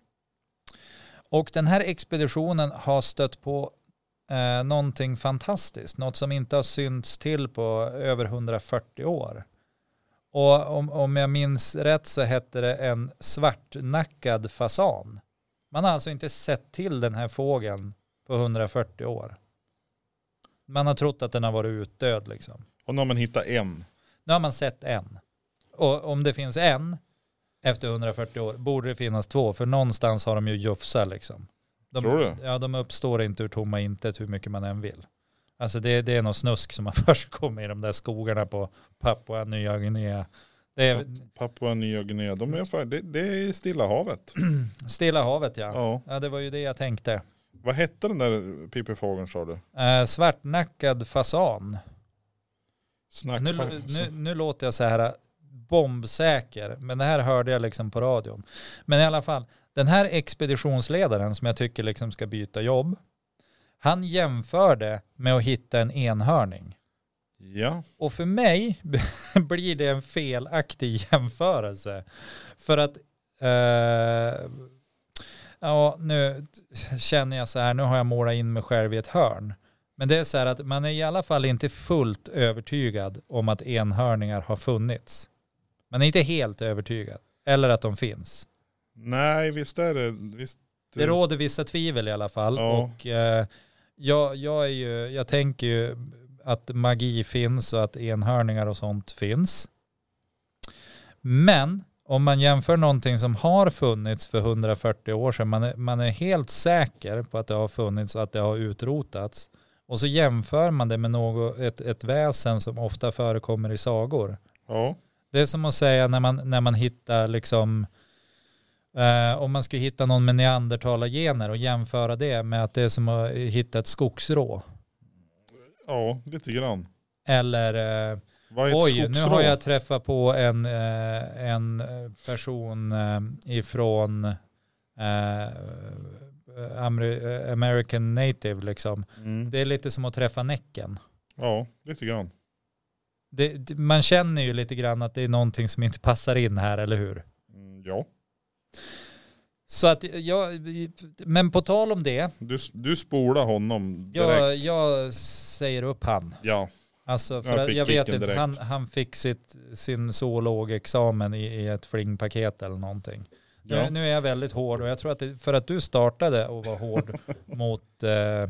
Och den här expeditionen har stött på eh, någonting fantastiskt, något som inte har synts till på över 140 år. Och om, om jag minns rätt så hette det en svartnackad fasan. Man har alltså inte sett till den här fågeln på 140 år. Man har trott att den har varit utdöd liksom. Och nu har man hittat en. Nu har man sett en. Och om det finns en efter 140 år borde det finnas två, för någonstans har de ju jufsar liksom. De, Tror du? Ja, de uppstår inte ur tomma intet hur mycket man än vill. Alltså det, det är något snusk som har <laughs> försiggått i de där skogarna på Papua Nya Guinea. Det är Papua Nya Guinea, de är, fan- det, det är Stilla havet. Stilla havet ja. Ja. Ja, det var ju det jag tänkte. Vad hette den där pipifågeln sa du? Eh, svartnackad fasan. Snack. Nu, nu, nu låter jag så här äh, bombsäker, men det här hörde jag liksom på radion. Men i alla fall, den här expeditionsledaren som jag tycker liksom ska byta jobb, han jämförde med att hitta en enhörning. Ja, Och för mig <laughs> blir det en felaktig <laughs> jämförelse. För att, eh, ja nu känner jag så här, nu har jag målat in mig själv i ett hörn. Men det är så här att man är i alla fall inte fullt övertygad om att enhörningar har funnits. Man är inte helt övertygad. Eller att de finns. nej visst är det. Visst, Det råder vissa tvivel i alla fall. Mm. Ja. Och eh, jag, jag, är ju, jag tänker ju att magi finns och att enhörningar och sånt finns. Men om man jämför någonting som har funnits för 140 år sedan, man är, man är helt säker på att det har funnits och att det har utrotats. Och så jämför man det med något, ett, ett väsen som ofta förekommer i sagor. Ja, Det är som att säga när man, när man hittar liksom, eh, om man skulle hitta någon med neandertalargener och jämföra det med att det är som att hitta ett skogsrå. ja, lite grann. Eller, eh, Vad är ett oj, nu skogsrå? har jag träffat på en, eh, en eh, person eh, ifrån eh, Ameri- eh, American native liksom. Mm. Det är lite som att träffa näcken. Ja, lite grann. Det, det- man känner ju lite grann att det är någonting som inte passar in här, eller hur? Mm, Ja, Så att jag, men på tal om det, du, du spolar honom jag, direkt. jag säger upp han. Ja, Alltså för Han jag, fick jag vet kicken inte, direkt. han, han fick sitt, sin zoologexamen i, i ett flingpaket eller någonting. ja. Nu, nu är jag väldigt hård och jag tror att det, för att du startade och var <laughs> hård mot, eh,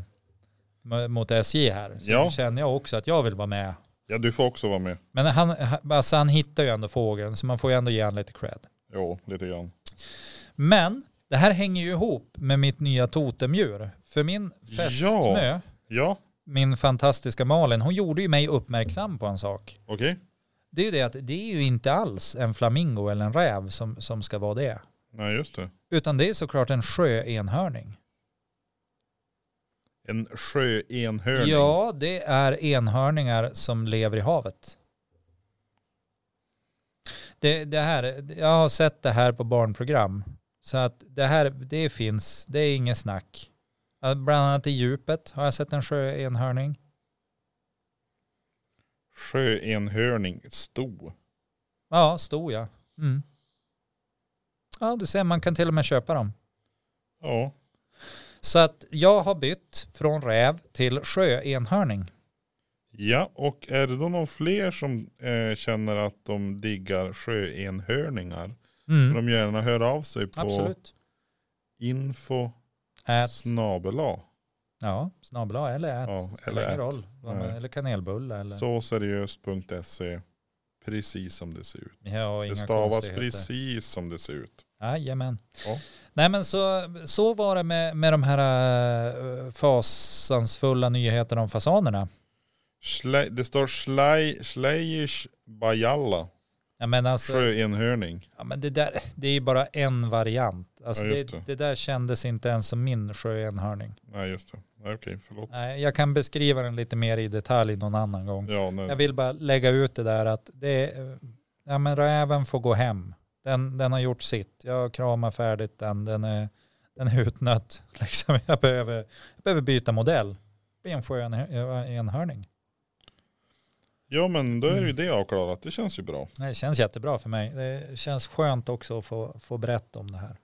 mo- mot SJ här, så Ja. känner jag också att jag vill vara med. ja, du får också vara med. Men han, han- alltså han hittar ju ändå fågeln så man får ju ändå ge han lite cred. Jo, lite grann. Men det här hänger ju ihop med mitt nya totemdjur. För min Ja. fästmö, Ja, min fantastiska Malin, hon gjorde ju mig uppmärksam på en sak. okej. Det är ju det att det är ju inte alls en flamingo eller en räv som, som ska vara det. Nej, just det. Utan det är såklart en sjöenhörning. En sjöenhörning. Ja, det är enhörningar som lever i havet. Det, det här, jag har sett det här på barnprogram. Så att det här, det finns, det är inget snack. Ja, Bland annat i djupet har jag sett en sjöenhörning. Sjöenhörning. Sto. Ja, stor ja. Mm. Ja, du ser, man kan till och med köpa dem. Ja, Så att jag har bytt från räv till sjöenhörning. Ja, och är det då någon fler som eh, känner att de diggar sjöenhörningar får Mm. de gärna höra av sig på Absolut. info Ät, snabela. ja, snabla eller ät. Ja, Eller, eller ät. roll, vad man- Nej. eller kanelbulle. Eller, Så seriöst.se. E, Precis som det ser ut. ja, Det inga stavas konstigheter. precis som det ser ut. Jajamän. Ja. Nej men så, så var det med, med de här eh, fasansfulla nyheterna om fasanerna. Schle- det står Schlei- Schleiers Bajalla, Ja, men alltså, sjöenhörning. ja, men det, där, det är ju bara en variant. Alltså, Ja, det, just det. där kändes inte ens som min sjöenhörning. Nej just det, Nej, okej förlåt. Nej, jag kan beskriva den lite mer i detalj någon annan gång. Ja, nej. Jag vill bara lägga ut det där att det är, ja, men räven får gå hem. Den, den har gjort sitt. Jag kramar färdigt den. Den är, den är utnött. <laughs> Liksom. Jag, behöver, jag behöver byta modell. Bli en sjöenhörning. ja men då är Mm. ju det avklarat, det känns ju bra. Det känns jättebra för mig. Det känns skönt också att få, få berätta om det här.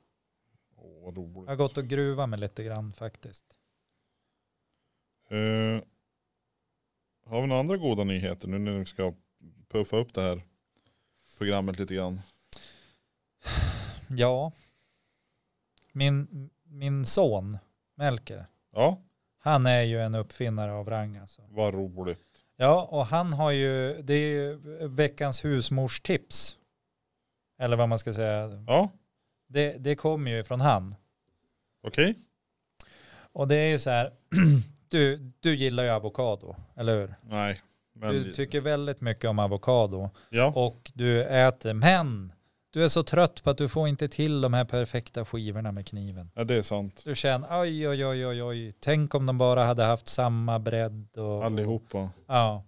Åh, vad roligt. Jag har gått och gruvat mig lite grann faktiskt. Eh, har vi några andra goda nyheter nu när vi ska puffa upp det här programmet lite grann? Ja, min, min son Melker, Ja, han är ju en uppfinnare av rang alltså. vad roligt. Ja, och han har ju, det är ju veckans husmorstips. Eller vad man ska säga. Ja, Det, det kommer ju från han. okej. Och det är ju så här, <clears throat> du, du gillar ju avokado, eller hur? Nej, men Du tycker väldigt mycket om avokado ja, och du äter, men du är så trött på att du får inte till de här perfekta skivorna med kniven. ja, det är sant. Du känner, oj, oj, oj, oj, oj, tänk om de bara hade haft samma bredd och... Allihopa. Ja.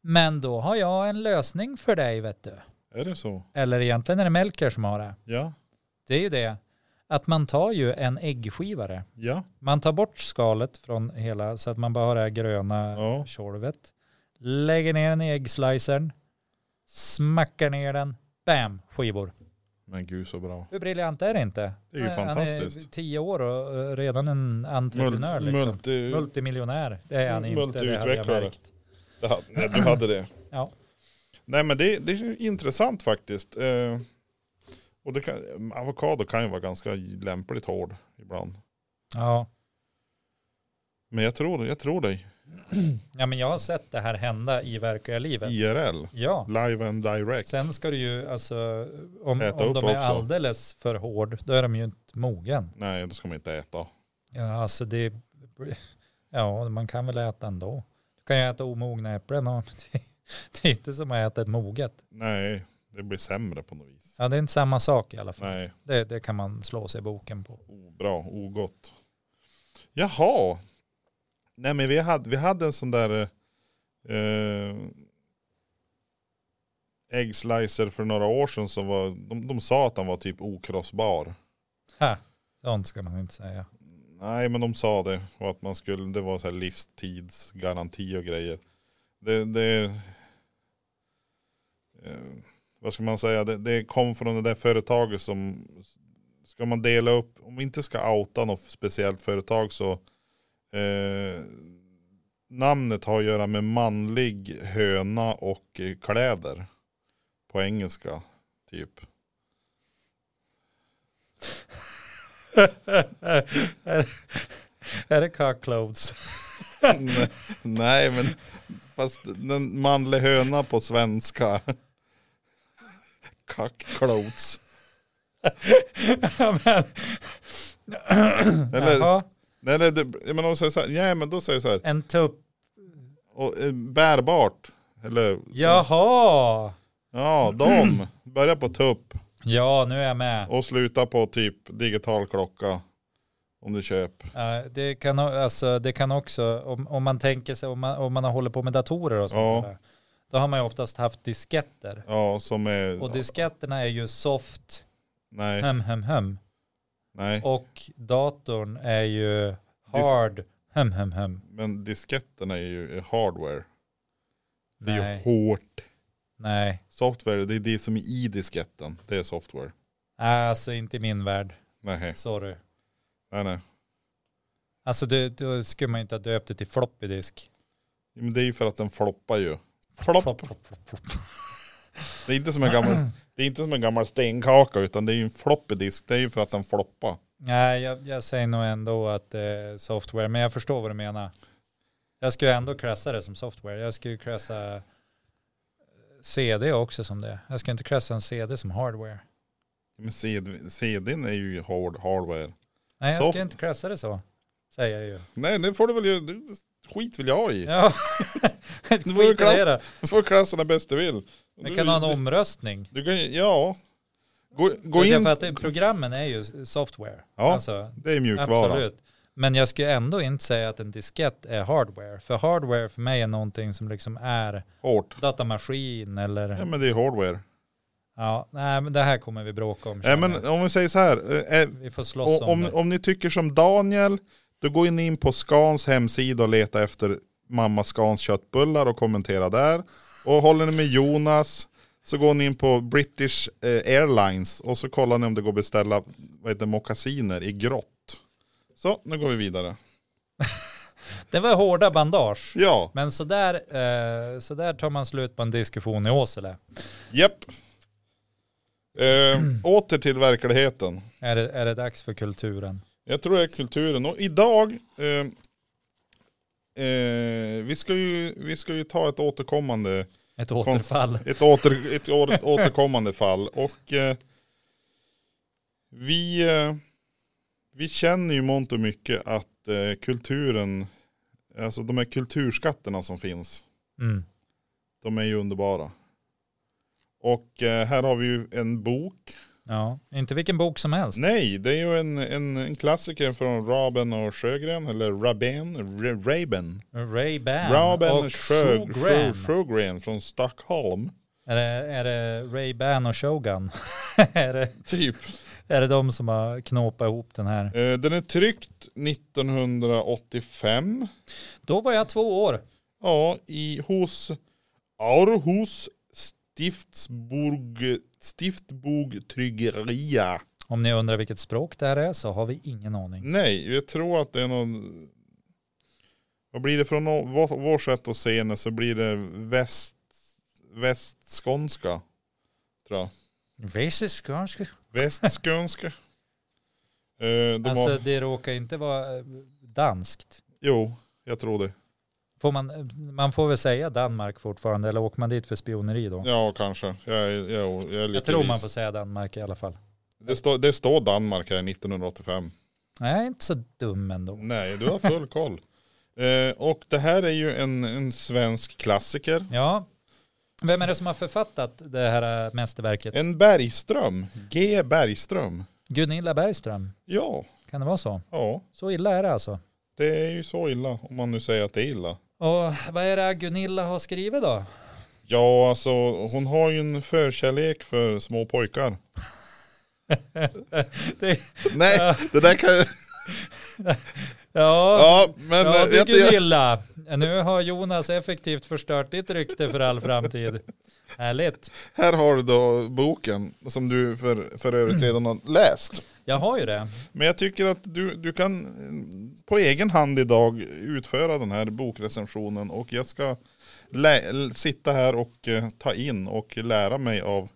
Men då har jag en lösning för dig, vet du. Är det så? eller egentligen är det Melker som har det. Ja, Det är ju det att man tar ju en äggskivare. ja, Man tar bort skalet från hela så att man bara har det här gröna Ja. tjorvet. Lägger ner den i äggslicern. Smackar ner den. Bam, skivor. men gud så bra. Hur briljant är det inte? Det är ju Han- Han är fantastiskt. tio år och eh, redan en entreprenör. Mult- liksom. multi- Multimiljonär. Det är han inte. Det hade jag Multiutvecklare. märkt. Det hade- nej, du hade det. <clears throat> Ja. Nej men det, det är intressant faktiskt. Eh, och det kan, avokado kan ju vara ganska lämpligt hård ibland. Ja. Men jag tror, jag tror dig. ja, men jag har sett det här hända i verkliga livet. IRL. Ja. Live and direct. Sen ska du ju, alltså, om, Äta om upp de är också. alldeles alldeles för hård, då är de ju inte mogen. Nej, då ska man inte äta. Ja, alltså det, ja, man kan väl äta ändå. Du kan ju äta omogna äpplen <laughs> och det, det är inte som att äta ett moget. Nej, det blir sämre på något vis. Ja, det är inte samma sak i alla fall. Nej, Det, det kan man slå sig i boken på. obra, ogott. Jaha. Nej men vi hade, vi hade en sån där eh, eh, äggslicer för några år sedan som var, de, de sa att den var typ okrossbar. Ha, sånt ska man inte <laughs> säga. Nej men de sa det och att man skulle, det var så här livstidsgaranti och grejer. Det, det eh, vad ska man säga, det, det kom från det där företaget som, ska man dela upp, om vi inte ska outa något speciellt företag så, eh, namnet har att göra med manlig höna och eh, kläder på engelska typ. är det cock clothes? Nej, Nej men fast den manlig höna på svenska. Kackklots. <laughs> Ja, men, Eller- Jaha, Nej, nej, det, men de säger så här, nej men då säger jag så här, en tupp. och, eh, bärbart. Eller, så- Jaha! ja, de. Börja på tupp Ja, nu är jag med. och sluta på typ digital klocka. Om du köper. Ja, Eh, det, kan, o- alltså, det kan också, om, om man tänker sig, om man, om man håller på med datorer och sånt Ja. där, då har man ju oftast haft disketter. Ja, som är, Och disketterna är ju soft, nej, hem, hem, hem. nej. Och datorn är ju hard, hem, hem, hem. Men disketterna är ju är hardware. Det är ju Nej, hårt. nej. Software, det är det som är i disketten. Det är software. Alltså inte i min värld, Nej, sorry. nej, nej. Alltså det, då skulle man ju inte ha döpt det till floppy disk. Ja, Men det är ju för att den floppar ju. Flopp. flopp, flopp, flopp. Det är inte som en gammal, <clears throat> det är inte som en gammal stenkaka utan det är ju en floppy disk. Det är ju för att den floppar. Nej, jag, jag säger nog ändå att eh, software, men jag förstår vad du menar. Jag skulle ändå klassa det som software. Jag skulle klassa CD också som det. Jag ska inte klassa en CD som hardware. Men CD, CDn är ju hard, hardware. Nej, jag Soft- <laughs> ska inte klassa det så, säger jag ju. Nej det får du väl göra. Du- skit vill jag ha i. Ja. Du får ju Skit i det då. Du får klasserna bäst du vill. Vi Du- kan ha en du- omröstning. Du kan, ja. Gå, gå Det är in. För att det, programmen är ju software. Ja, Alltså, det är mjukvara. absolut. Men jag skulle ändå inte säga att en diskett är hardware. För hardware för mig är någonting som liksom är Hårt. datamaskin eller... Ja men det är hardware. Ja, nej men det här kommer vi bråka om. Nej känner men jag. om vi säger så här. eh, eh, vi får slåss Och om, om, det. om ni tycker som Daniel, då gå in på Skans hemsida och leta efter mamma Skans köttbullar och kommentera där. Och håller ni med Jonas så går ni in på British eh, Airlines och så kollar ni om det går att beställa vad heter, det, mockasiner i grått. Så, nu går vi vidare. Det var hårda bandage. Ja, Men sådär, eh, sådär tar man slut på en diskussion i Åsele. japp. Eh, åter till verkligheten. Är det, är det dags för kulturen? Jag tror det är kulturen. Och idag, eh, eh, vi, ska ju, vi ska ju ta ett återkommande Ett återfall. ett, åter, ett å- återkommande fall. Och eh, vi, eh, vi känner ju mångt och mycket att eh, kulturen, alltså de här kulturskatterna som finns, Mm. de är ju underbara. Och eh, här har vi ju en bok. Ja, inte vilken bok som helst. Nej, det är ju en, en, en klassiker från Raben och Sjögren, eller Raben, Ra- Raben. Ray-Ban Raben och Sjö- Sjö- Shogran. Sjögren från Stockholm. Är det, är det Ray-Ban och Shogun? <laughs> är, det, Typ. är det de som har knåpat ihop den här? Eh, Den är tryckt 1985. Då var jag två år. Ja, i, hos Aarhus Stiftsburg, Stiftbog Tryggeria. Om ni undrar vilket språk det här är så har vi ingen aning. Nej, jag tror att det är någon... Vad blir det från nå- vår- vårt sätt att se det så blir det väst, västskånska. Tror jag. Visst, kanske. Västskånska. eh, de Alltså har, det råkar inte vara eh, danskt. jo, jag tror det. Får man, eh, man får väl säga Danmark fortfarande eller åker man dit för spioneri då? Ja, kanske. Jag, är- jag, jag, är lite jag tror man vis. får säga Danmark i alla fall. Det, står- det står Danmark här 1985. Nej, inte så dum ändå. Nej, du har full <laughs> koll. Eh, och det här är ju en, en svensk klassiker. Ja. Vem är det som har författat det här eh, mästerverket? En Bergström, G Bergström. Gunilla Bergström. Ja, Kan det vara så? ja, Så illa är det alltså. det är ju så illa om man nu säger att det är illa. Och vad är det Gunilla har skrivit då? Ja, alltså hon har ju en förkärlek för små pojkar. Det- <laughs> Nej, det där kan Ja, <laughs> Ja, men ja du eh, vet du, Gunilla. Nu har Jonas effektivt förstört ditt rykte för all framtid. Härligt. här har du då boken som du för, för övrigt redan har läst. Jag har ju det. Men jag tycker att du, du kan eh, på egen hand idag utföra den här bokrecensionen och jag ska lä- l- sitta här och eh, ta in och lära mig av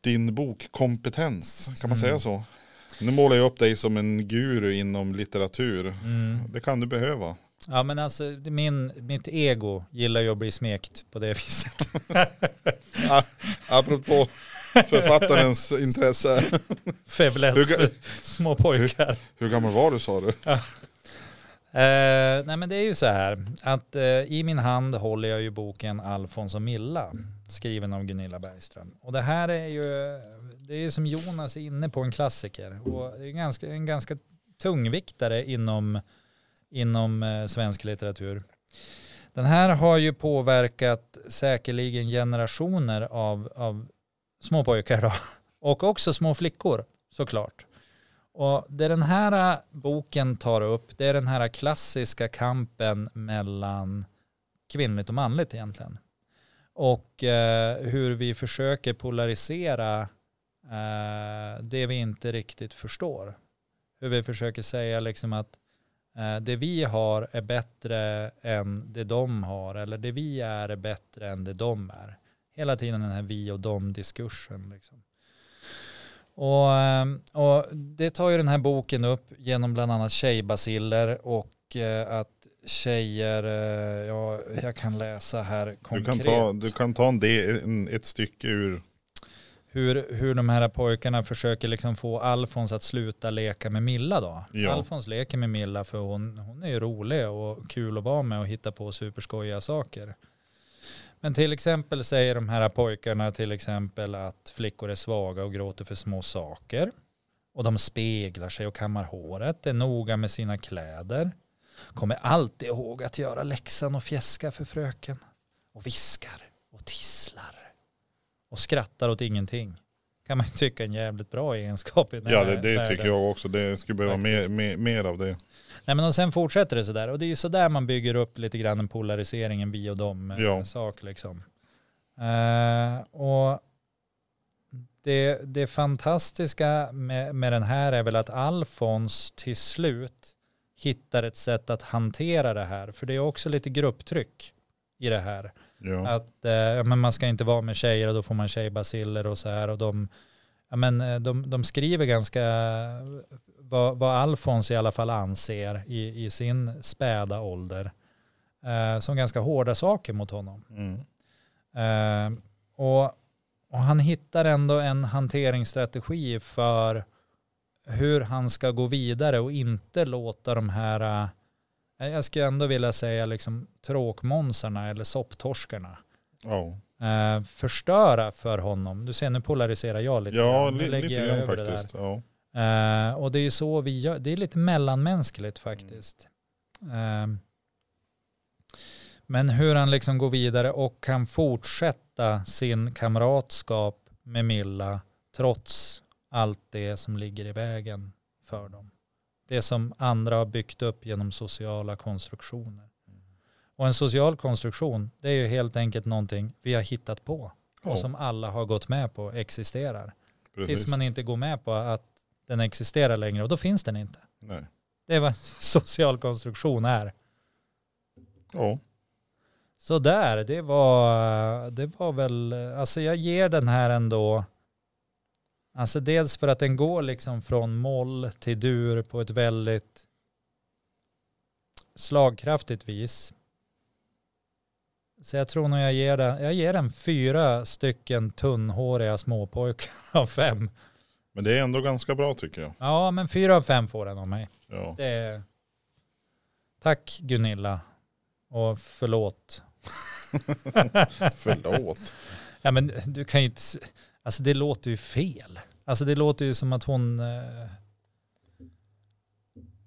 din bokkompetens. Kan man Mm. säga så? Nu målar jag upp dig som en guru inom litteratur. Mm. Det kan du behöva. Ja men alltså min, mitt ego gillar ju att bli smekt på det <laughs> viset. <laughs> Apropå författarens intresse. Hur Fäbless ga- för små pojkar. Hur gammal var du sa du? Eh, nej men det är ju så här att eh, i min hand håller jag ju boken Alfons och Milla skriven av Gunilla Bergström. Och det här är ju, det är ju som Jonas är inne på en klassiker och det är ju ganska, en ganska tungviktare inom, inom eh, svensk litteratur. Den här har ju påverkat säkerligen generationer av, av små pojkar då. <laughs> och också små flickor såklart. Och det den här eh, boken tar upp, det är den här klassiska kampen mellan kvinnligt och manligt egentligen. Och eh, hur vi försöker polarisera eh, det vi inte riktigt förstår. Hur vi försöker säga liksom att eh, det vi har är bättre än det de har eller det vi är är bättre än det de är. Hela tiden den här vi och dem-diskursen. Liksom. Och, ehm, och det tar ju den här boken upp genom bland annat tjejbaciller och eh, att tjejer, eh, ja, jag kan läsa här Du konkret. kan ta, du kan ta en del, en, ett stycke ur hur, hur de här pojkarna försöker liksom få Alfons att sluta leka med Milla då. Ja. Alfons leker med Milla för hon, hon är ju rolig och kul att vara med och hitta på superskojiga saker. Men till exempel säger de här pojkarna till exempel att flickor är svaga och gråter för små saker. Och de speglar sig och kammar håret, är noga med sina kläder. Kommer alltid ihåg att göra läxan och fjäska för fröken. Och viskar och tisslar och skrattar åt ingenting. Kan man ju tycka är en jävligt bra egenskap i den Ja här det, det världen. tycker jag också. Det skulle behöva mer, mer, mer av det. Nej men och sen fortsätter det sådär. Och det är ju sådär man bygger upp lite grann en polarisering, en vi och dem eh, Ja. sak liksom. Eh, och det, det fantastiska med, med den här är väl att Alfons till slut hittar ett sätt att hantera det här. För det är också lite grupptryck i det här. Ja. Att eh, ja, men man ska inte vara med tjejer och då får man tjejbaciller och så här. Och de, ja, men, eh, de, de skriver ganska vad, vad Alfons i alla fall anser i, i sin späda ålder eh, som ganska hårda saker mot honom. Mm. Eh, och, och han hittar ändå en hanteringsstrategi för hur han ska gå vidare och inte låta de här, eh, jag skulle ändå vilja säga liksom tråkmånsarna eller sopptorskarna Ja. eh, förstöra för honom. Du ser, nu polariserar jag lite. ja, Nu li, lägger lite jag grann över det där. faktiskt. Ja. Eh, och det är ju så vi gör, det är lite mellanmänskligt faktiskt. Eh, men hur han liksom går vidare och kan fortsätta sin kamratskap med Milla trots allt det som ligger i vägen för dem. Det som andra har byggt upp genom sociala konstruktioner. Och en social konstruktion, det är ju helt enkelt någonting vi har hittat på och Ja, som alla har gått med på existerar. precis. Tills man inte går med på att den existerar längre och då finns den inte. Nej. Det är vad <laughs> social konstruktion är. Ja. Så där, det var, det var väl, alltså jag ger den här ändå, alltså dels för att den går liksom från moll till dur på ett väldigt slagkraftigt vis. Så jag tror nog jag ger den, jag ger den fyra stycken tunnhåriga småpojkar <laughs> av fem. Men det är ändå ganska bra tycker jag. Ja, men fyra av fem får den av mig. Ja. Det är... Tack Gunilla och <laughs> förlåt. Förlåt. Ja men du kan ju inte, s- alltså det låter ju fel. Alltså det låter ju som att hon, eh,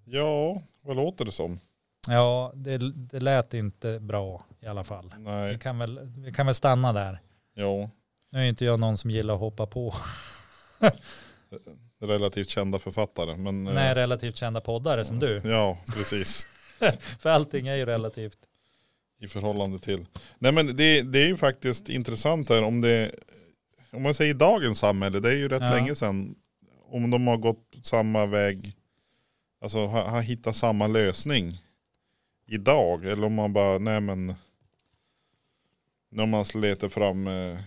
Ja, vad låter det som? ja det, det lät inte bra i alla fall. Vi Nej, kan, väl, vi kan väl stanna där. ja. Nu är inte jag någon som gillar att hoppa på. Relativt kända författare. Men, eh, Nej, relativt kända poddare som du. Ja, precis. För allting är ju relativt. I förhållande till. Nej men det, det är ju faktiskt intressant här om det, om man säger dagens samhälle, det är ju rätt Ja. länge sedan. Om de har gått samma väg, alltså har, har hittat samma lösning idag. Eller om man bara, nej men, när man letar fram, eh,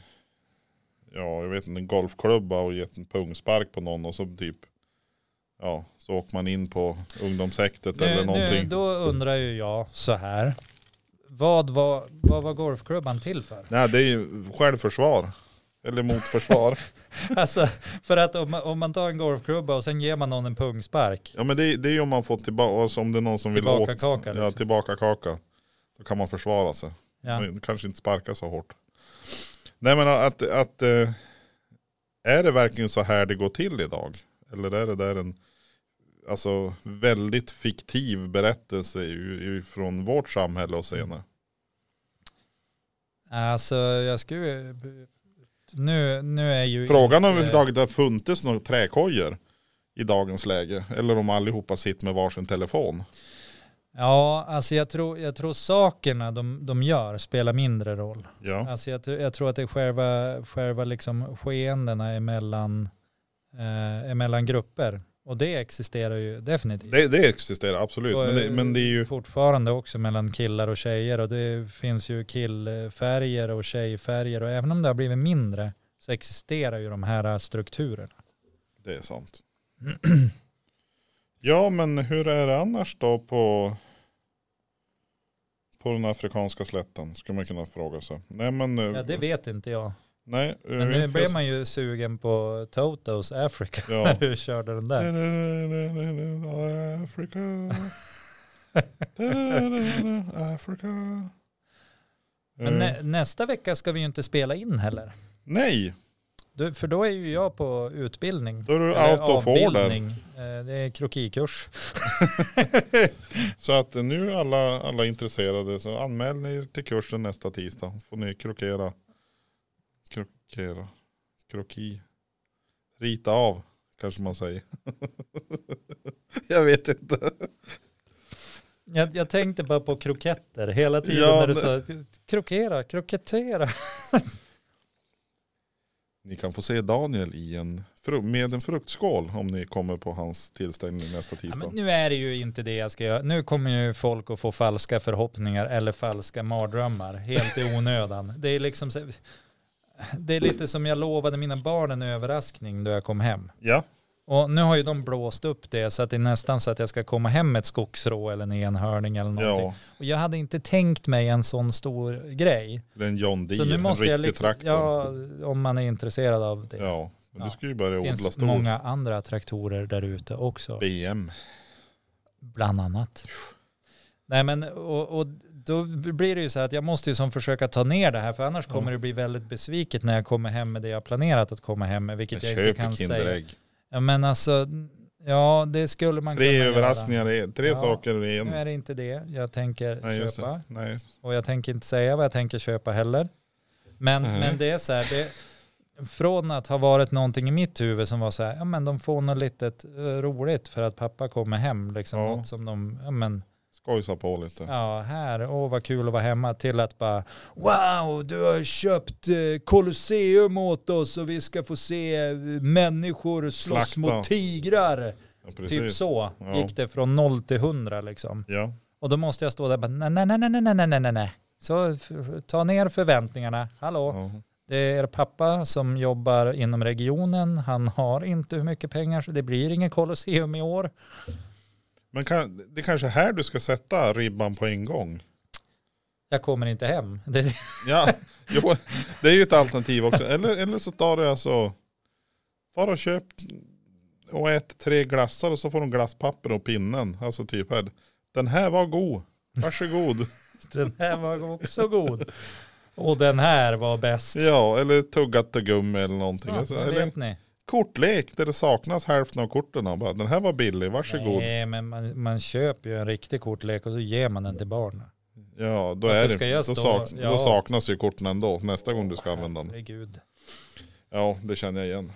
ja jag vet inte, en golfklubba och gett en pungspark på någon och så typ, ja så åker man in på ungdomshäktet eller Nu, någonting. nu, då undrar ju jag så här. Vad var, vad var golfklubban till för? Nej det är ju självförsvar. <laughs> Eller motförsvar. Alltså, för att om, man- om man tar en golfklubba och sen ger man någon en pungspark. ja men det, det är ju om man får tillbaka, alltså om det är någon som vill åt. Tillbaka kaka, Ja liksom. tillbaka kaka. Då kan man försvara sig. Ja. Men kanske inte sparka så hårt. Nej men att, att eh, är det verkligen så här det går till idag? Eller är det där en alltså, väldigt fiktiv berättelse ju- ju från vårt samhälle och senare? Alltså jag skulle nu, nu är ju... Frågan inte- om överhuvudtaget det har funnits några träkojor i dagens läge. Eller om allihopa sitter med varsin telefon. Ja, alltså jag tror, jag tror sakerna de, de gör spelar mindre roll. Ja. Alltså jag, tror- jag tror att det är själva, själva liksom skeendena emellan, eh, emellan grupper. Och det existerar ju definitivt. Det, det existerar absolut. Och, Men det, eh, men det är ju, Fortfarande också mellan killar och tjejer och det finns ju killfärger och tjejfärger och även om det har blivit mindre så existerar ju de här strukturerna. det <clears throat> är sant. Ja men hur är det annars då på, på den afrikanska slätten? Skulle man kunna fråga sig. Nej men eh, Mm. Ja det vet inte jag. Nej. eh, Men nu blev man ju sugen på Totos Africa Mm. <laughs> Ja. Mm. när du körde den där. <laughs> Africa. Africa. Men Eh, nä, nästa vecka ska vi ju inte spela in heller. Nej, Du, för då är ju jag på utbildning. då är du Eller out of order. avbildning. Eh, Det är krokikurs. Så att nu alla, alla intresserade så anmäl er till kursen nästa tisdag. Får ni krokera. Krokera. Kroki. Rita av kanske man säger. <laughs> Jag vet inte. Jag, jag tänkte bara på kroketter hela tiden Ja, när du men- sa krokera, krokettera. Ni kan få se Daniel i en, fru- med en fruktskål om ni kommer på hans tillställning nästa Ja, tisdag. men nu är det ju inte det jag ska göra. Nu kommer ju folk att få falska förhoppningar eller falska mardrömmar helt i <laughs> onödan. Det är liksom så- det är lite som jag lovade mina barn en överraskning då jag kom hem. Ja, Och nu har ju de blåst upp det så att det är nästan så att jag ska komma hem med ett skogsrå eller en enhörning eller någonting. ja. Och jag hade inte tänkt mig en sån stor grej. Det är en John Deere, så nu en måste riktig jag liksom, traktor. ja, om man är intresserad av det. ja. Men Ja. du ska ju börja det odla finns stor många andra traktorer där ute också. BM. Bland annat. Nej men och, och då blir det ju så här att jag måste ju som försöka ta ner det här för annars Ja. kommer det bli väldigt besviket när jag kommer hem med det jag planerat att komma hem med vilket jag, inte Köp kan ett säga. Kinderägg. Ja, men alltså, ja det skulle man kunna Tre göra. överraskningar, i- tre Ja. saker i en. Nu är det inte det jag tänker Nej, just köpa. det. Nej. Och jag tänker inte säga vad jag tänker köpa heller. Men, Nej. men det är så här, det, från att ha varit någonting i mitt huvud som var så här, ja men de får något litet eh, roligt för att pappa kommer hem, liksom Ja. något som de, ja men, Skojsa på lite. ja här, åh vad kul att vara hemma, till att bara, wow, du har köpt eh, Colosseum åt oss och vi ska få se eh, människor slåss Slakta. mot tigrar. Ja, precis. Typ så Ja. gick det från noll till hundra liksom. Ja. Och då måste jag stå där och bara nej, nej, nej, nej, nej, nej, nej, nej, nej. Så f- f- ta ner förväntningarna. Hallå, Ja. det är pappa som jobbar inom regionen. Han har inte hur mycket pengar så det blir ingen Colosseum i år. Men kan, det är kanske är här du ska sätta ribban på en gång. Jag kommer inte hem. Det, Ja, <laughs> jo, det är ju ett alternativ också. Eller, eller så tar du alltså, far och köp och ät tre glassar och så får de glasspapper och pinnen. Alltså typ här, den här var god, <laughs> varsågod. den här var också god. Och den här var bäst. Ja, eller tuggat och gummi eller någonting. Ja, Alltså, det eller en vet ni. kortlek där det saknas hälften av korten. och Bara, den här var billig, varsågod. Nej, men man, man köper ju en riktig kortlek och så ger man den till barnen. Ja, då, Varför är ska det, jag då, stå- sak, Ja. då saknas ju korten ändå nästa gång du ska använda den. Herregud. Ja, det känner jag igen.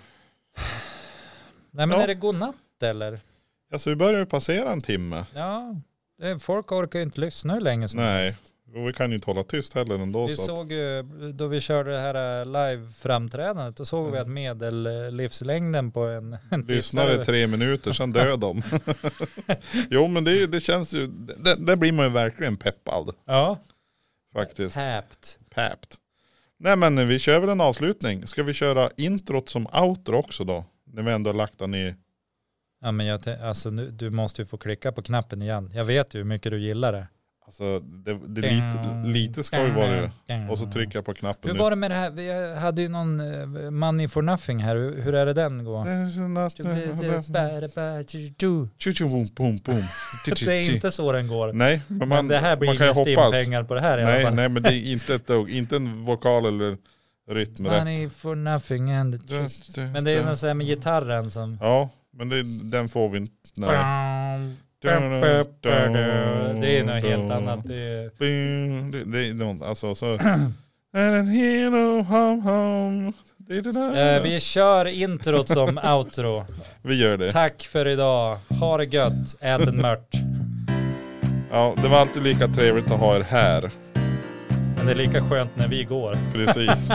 Nej, men Ja. är det godnatt eller? Alltså vi börjar ju passera en timme. Ja, det- folk orkar ju inte lyssna hur länge som Nej. helst. Och vi kan ju inte hålla tyst heller ändå. Vi så att, såg ju då vi körde det här eh, live-framträdandet, då såg vi Mm. att medellivslängden på en, <laughs> en lyssnar i tittare- tre minuter, sen <laughs> dör de. jo men det, är ju- det känns ju, det, det blir man ju verkligen peppad Ja, faktiskt. häpt. Pepped. Nej men vi kör väl en avslutning. Ska vi köra introt som outro också då? När vi ändå har lagt den i... Ja, men jag, tän- alltså, nu, du måste ju få klicka på knappen igen. Jag vet ju hur mycket du gillar det. Alltså det, det är lite, lite skoj var det ju. Och så trycker jag på Mm. knappen Hur nu. var det med det här? Vi hade ju någon eh, Money for Nothing här. Hur, hur är det den går? typ Tju-tju-bom, bom, <laughs> bom. Det är inte så den går. Nej, men man, men det här blir man kan ju ju hoppas. stimpengar på det här i alla Nej, fall. nej, men det är inte ett dugg. Inte en vokal eller rytm rätt. Money for nothing and... Men det är något så här med gitarren som... Ja, men det, den får vi inte. Nej. Det är något helt annat. Det är, Det, det är någon, alltså så. <clears throat> And a hero, hum, hum. Eh, vi kör introt <laughs> som outro. Vi gör det. Tack för idag. Ha det gött. Ät en mört. Ja, det var alltid lika trevligt att ha er här. Men det är lika skönt när vi går. Precis.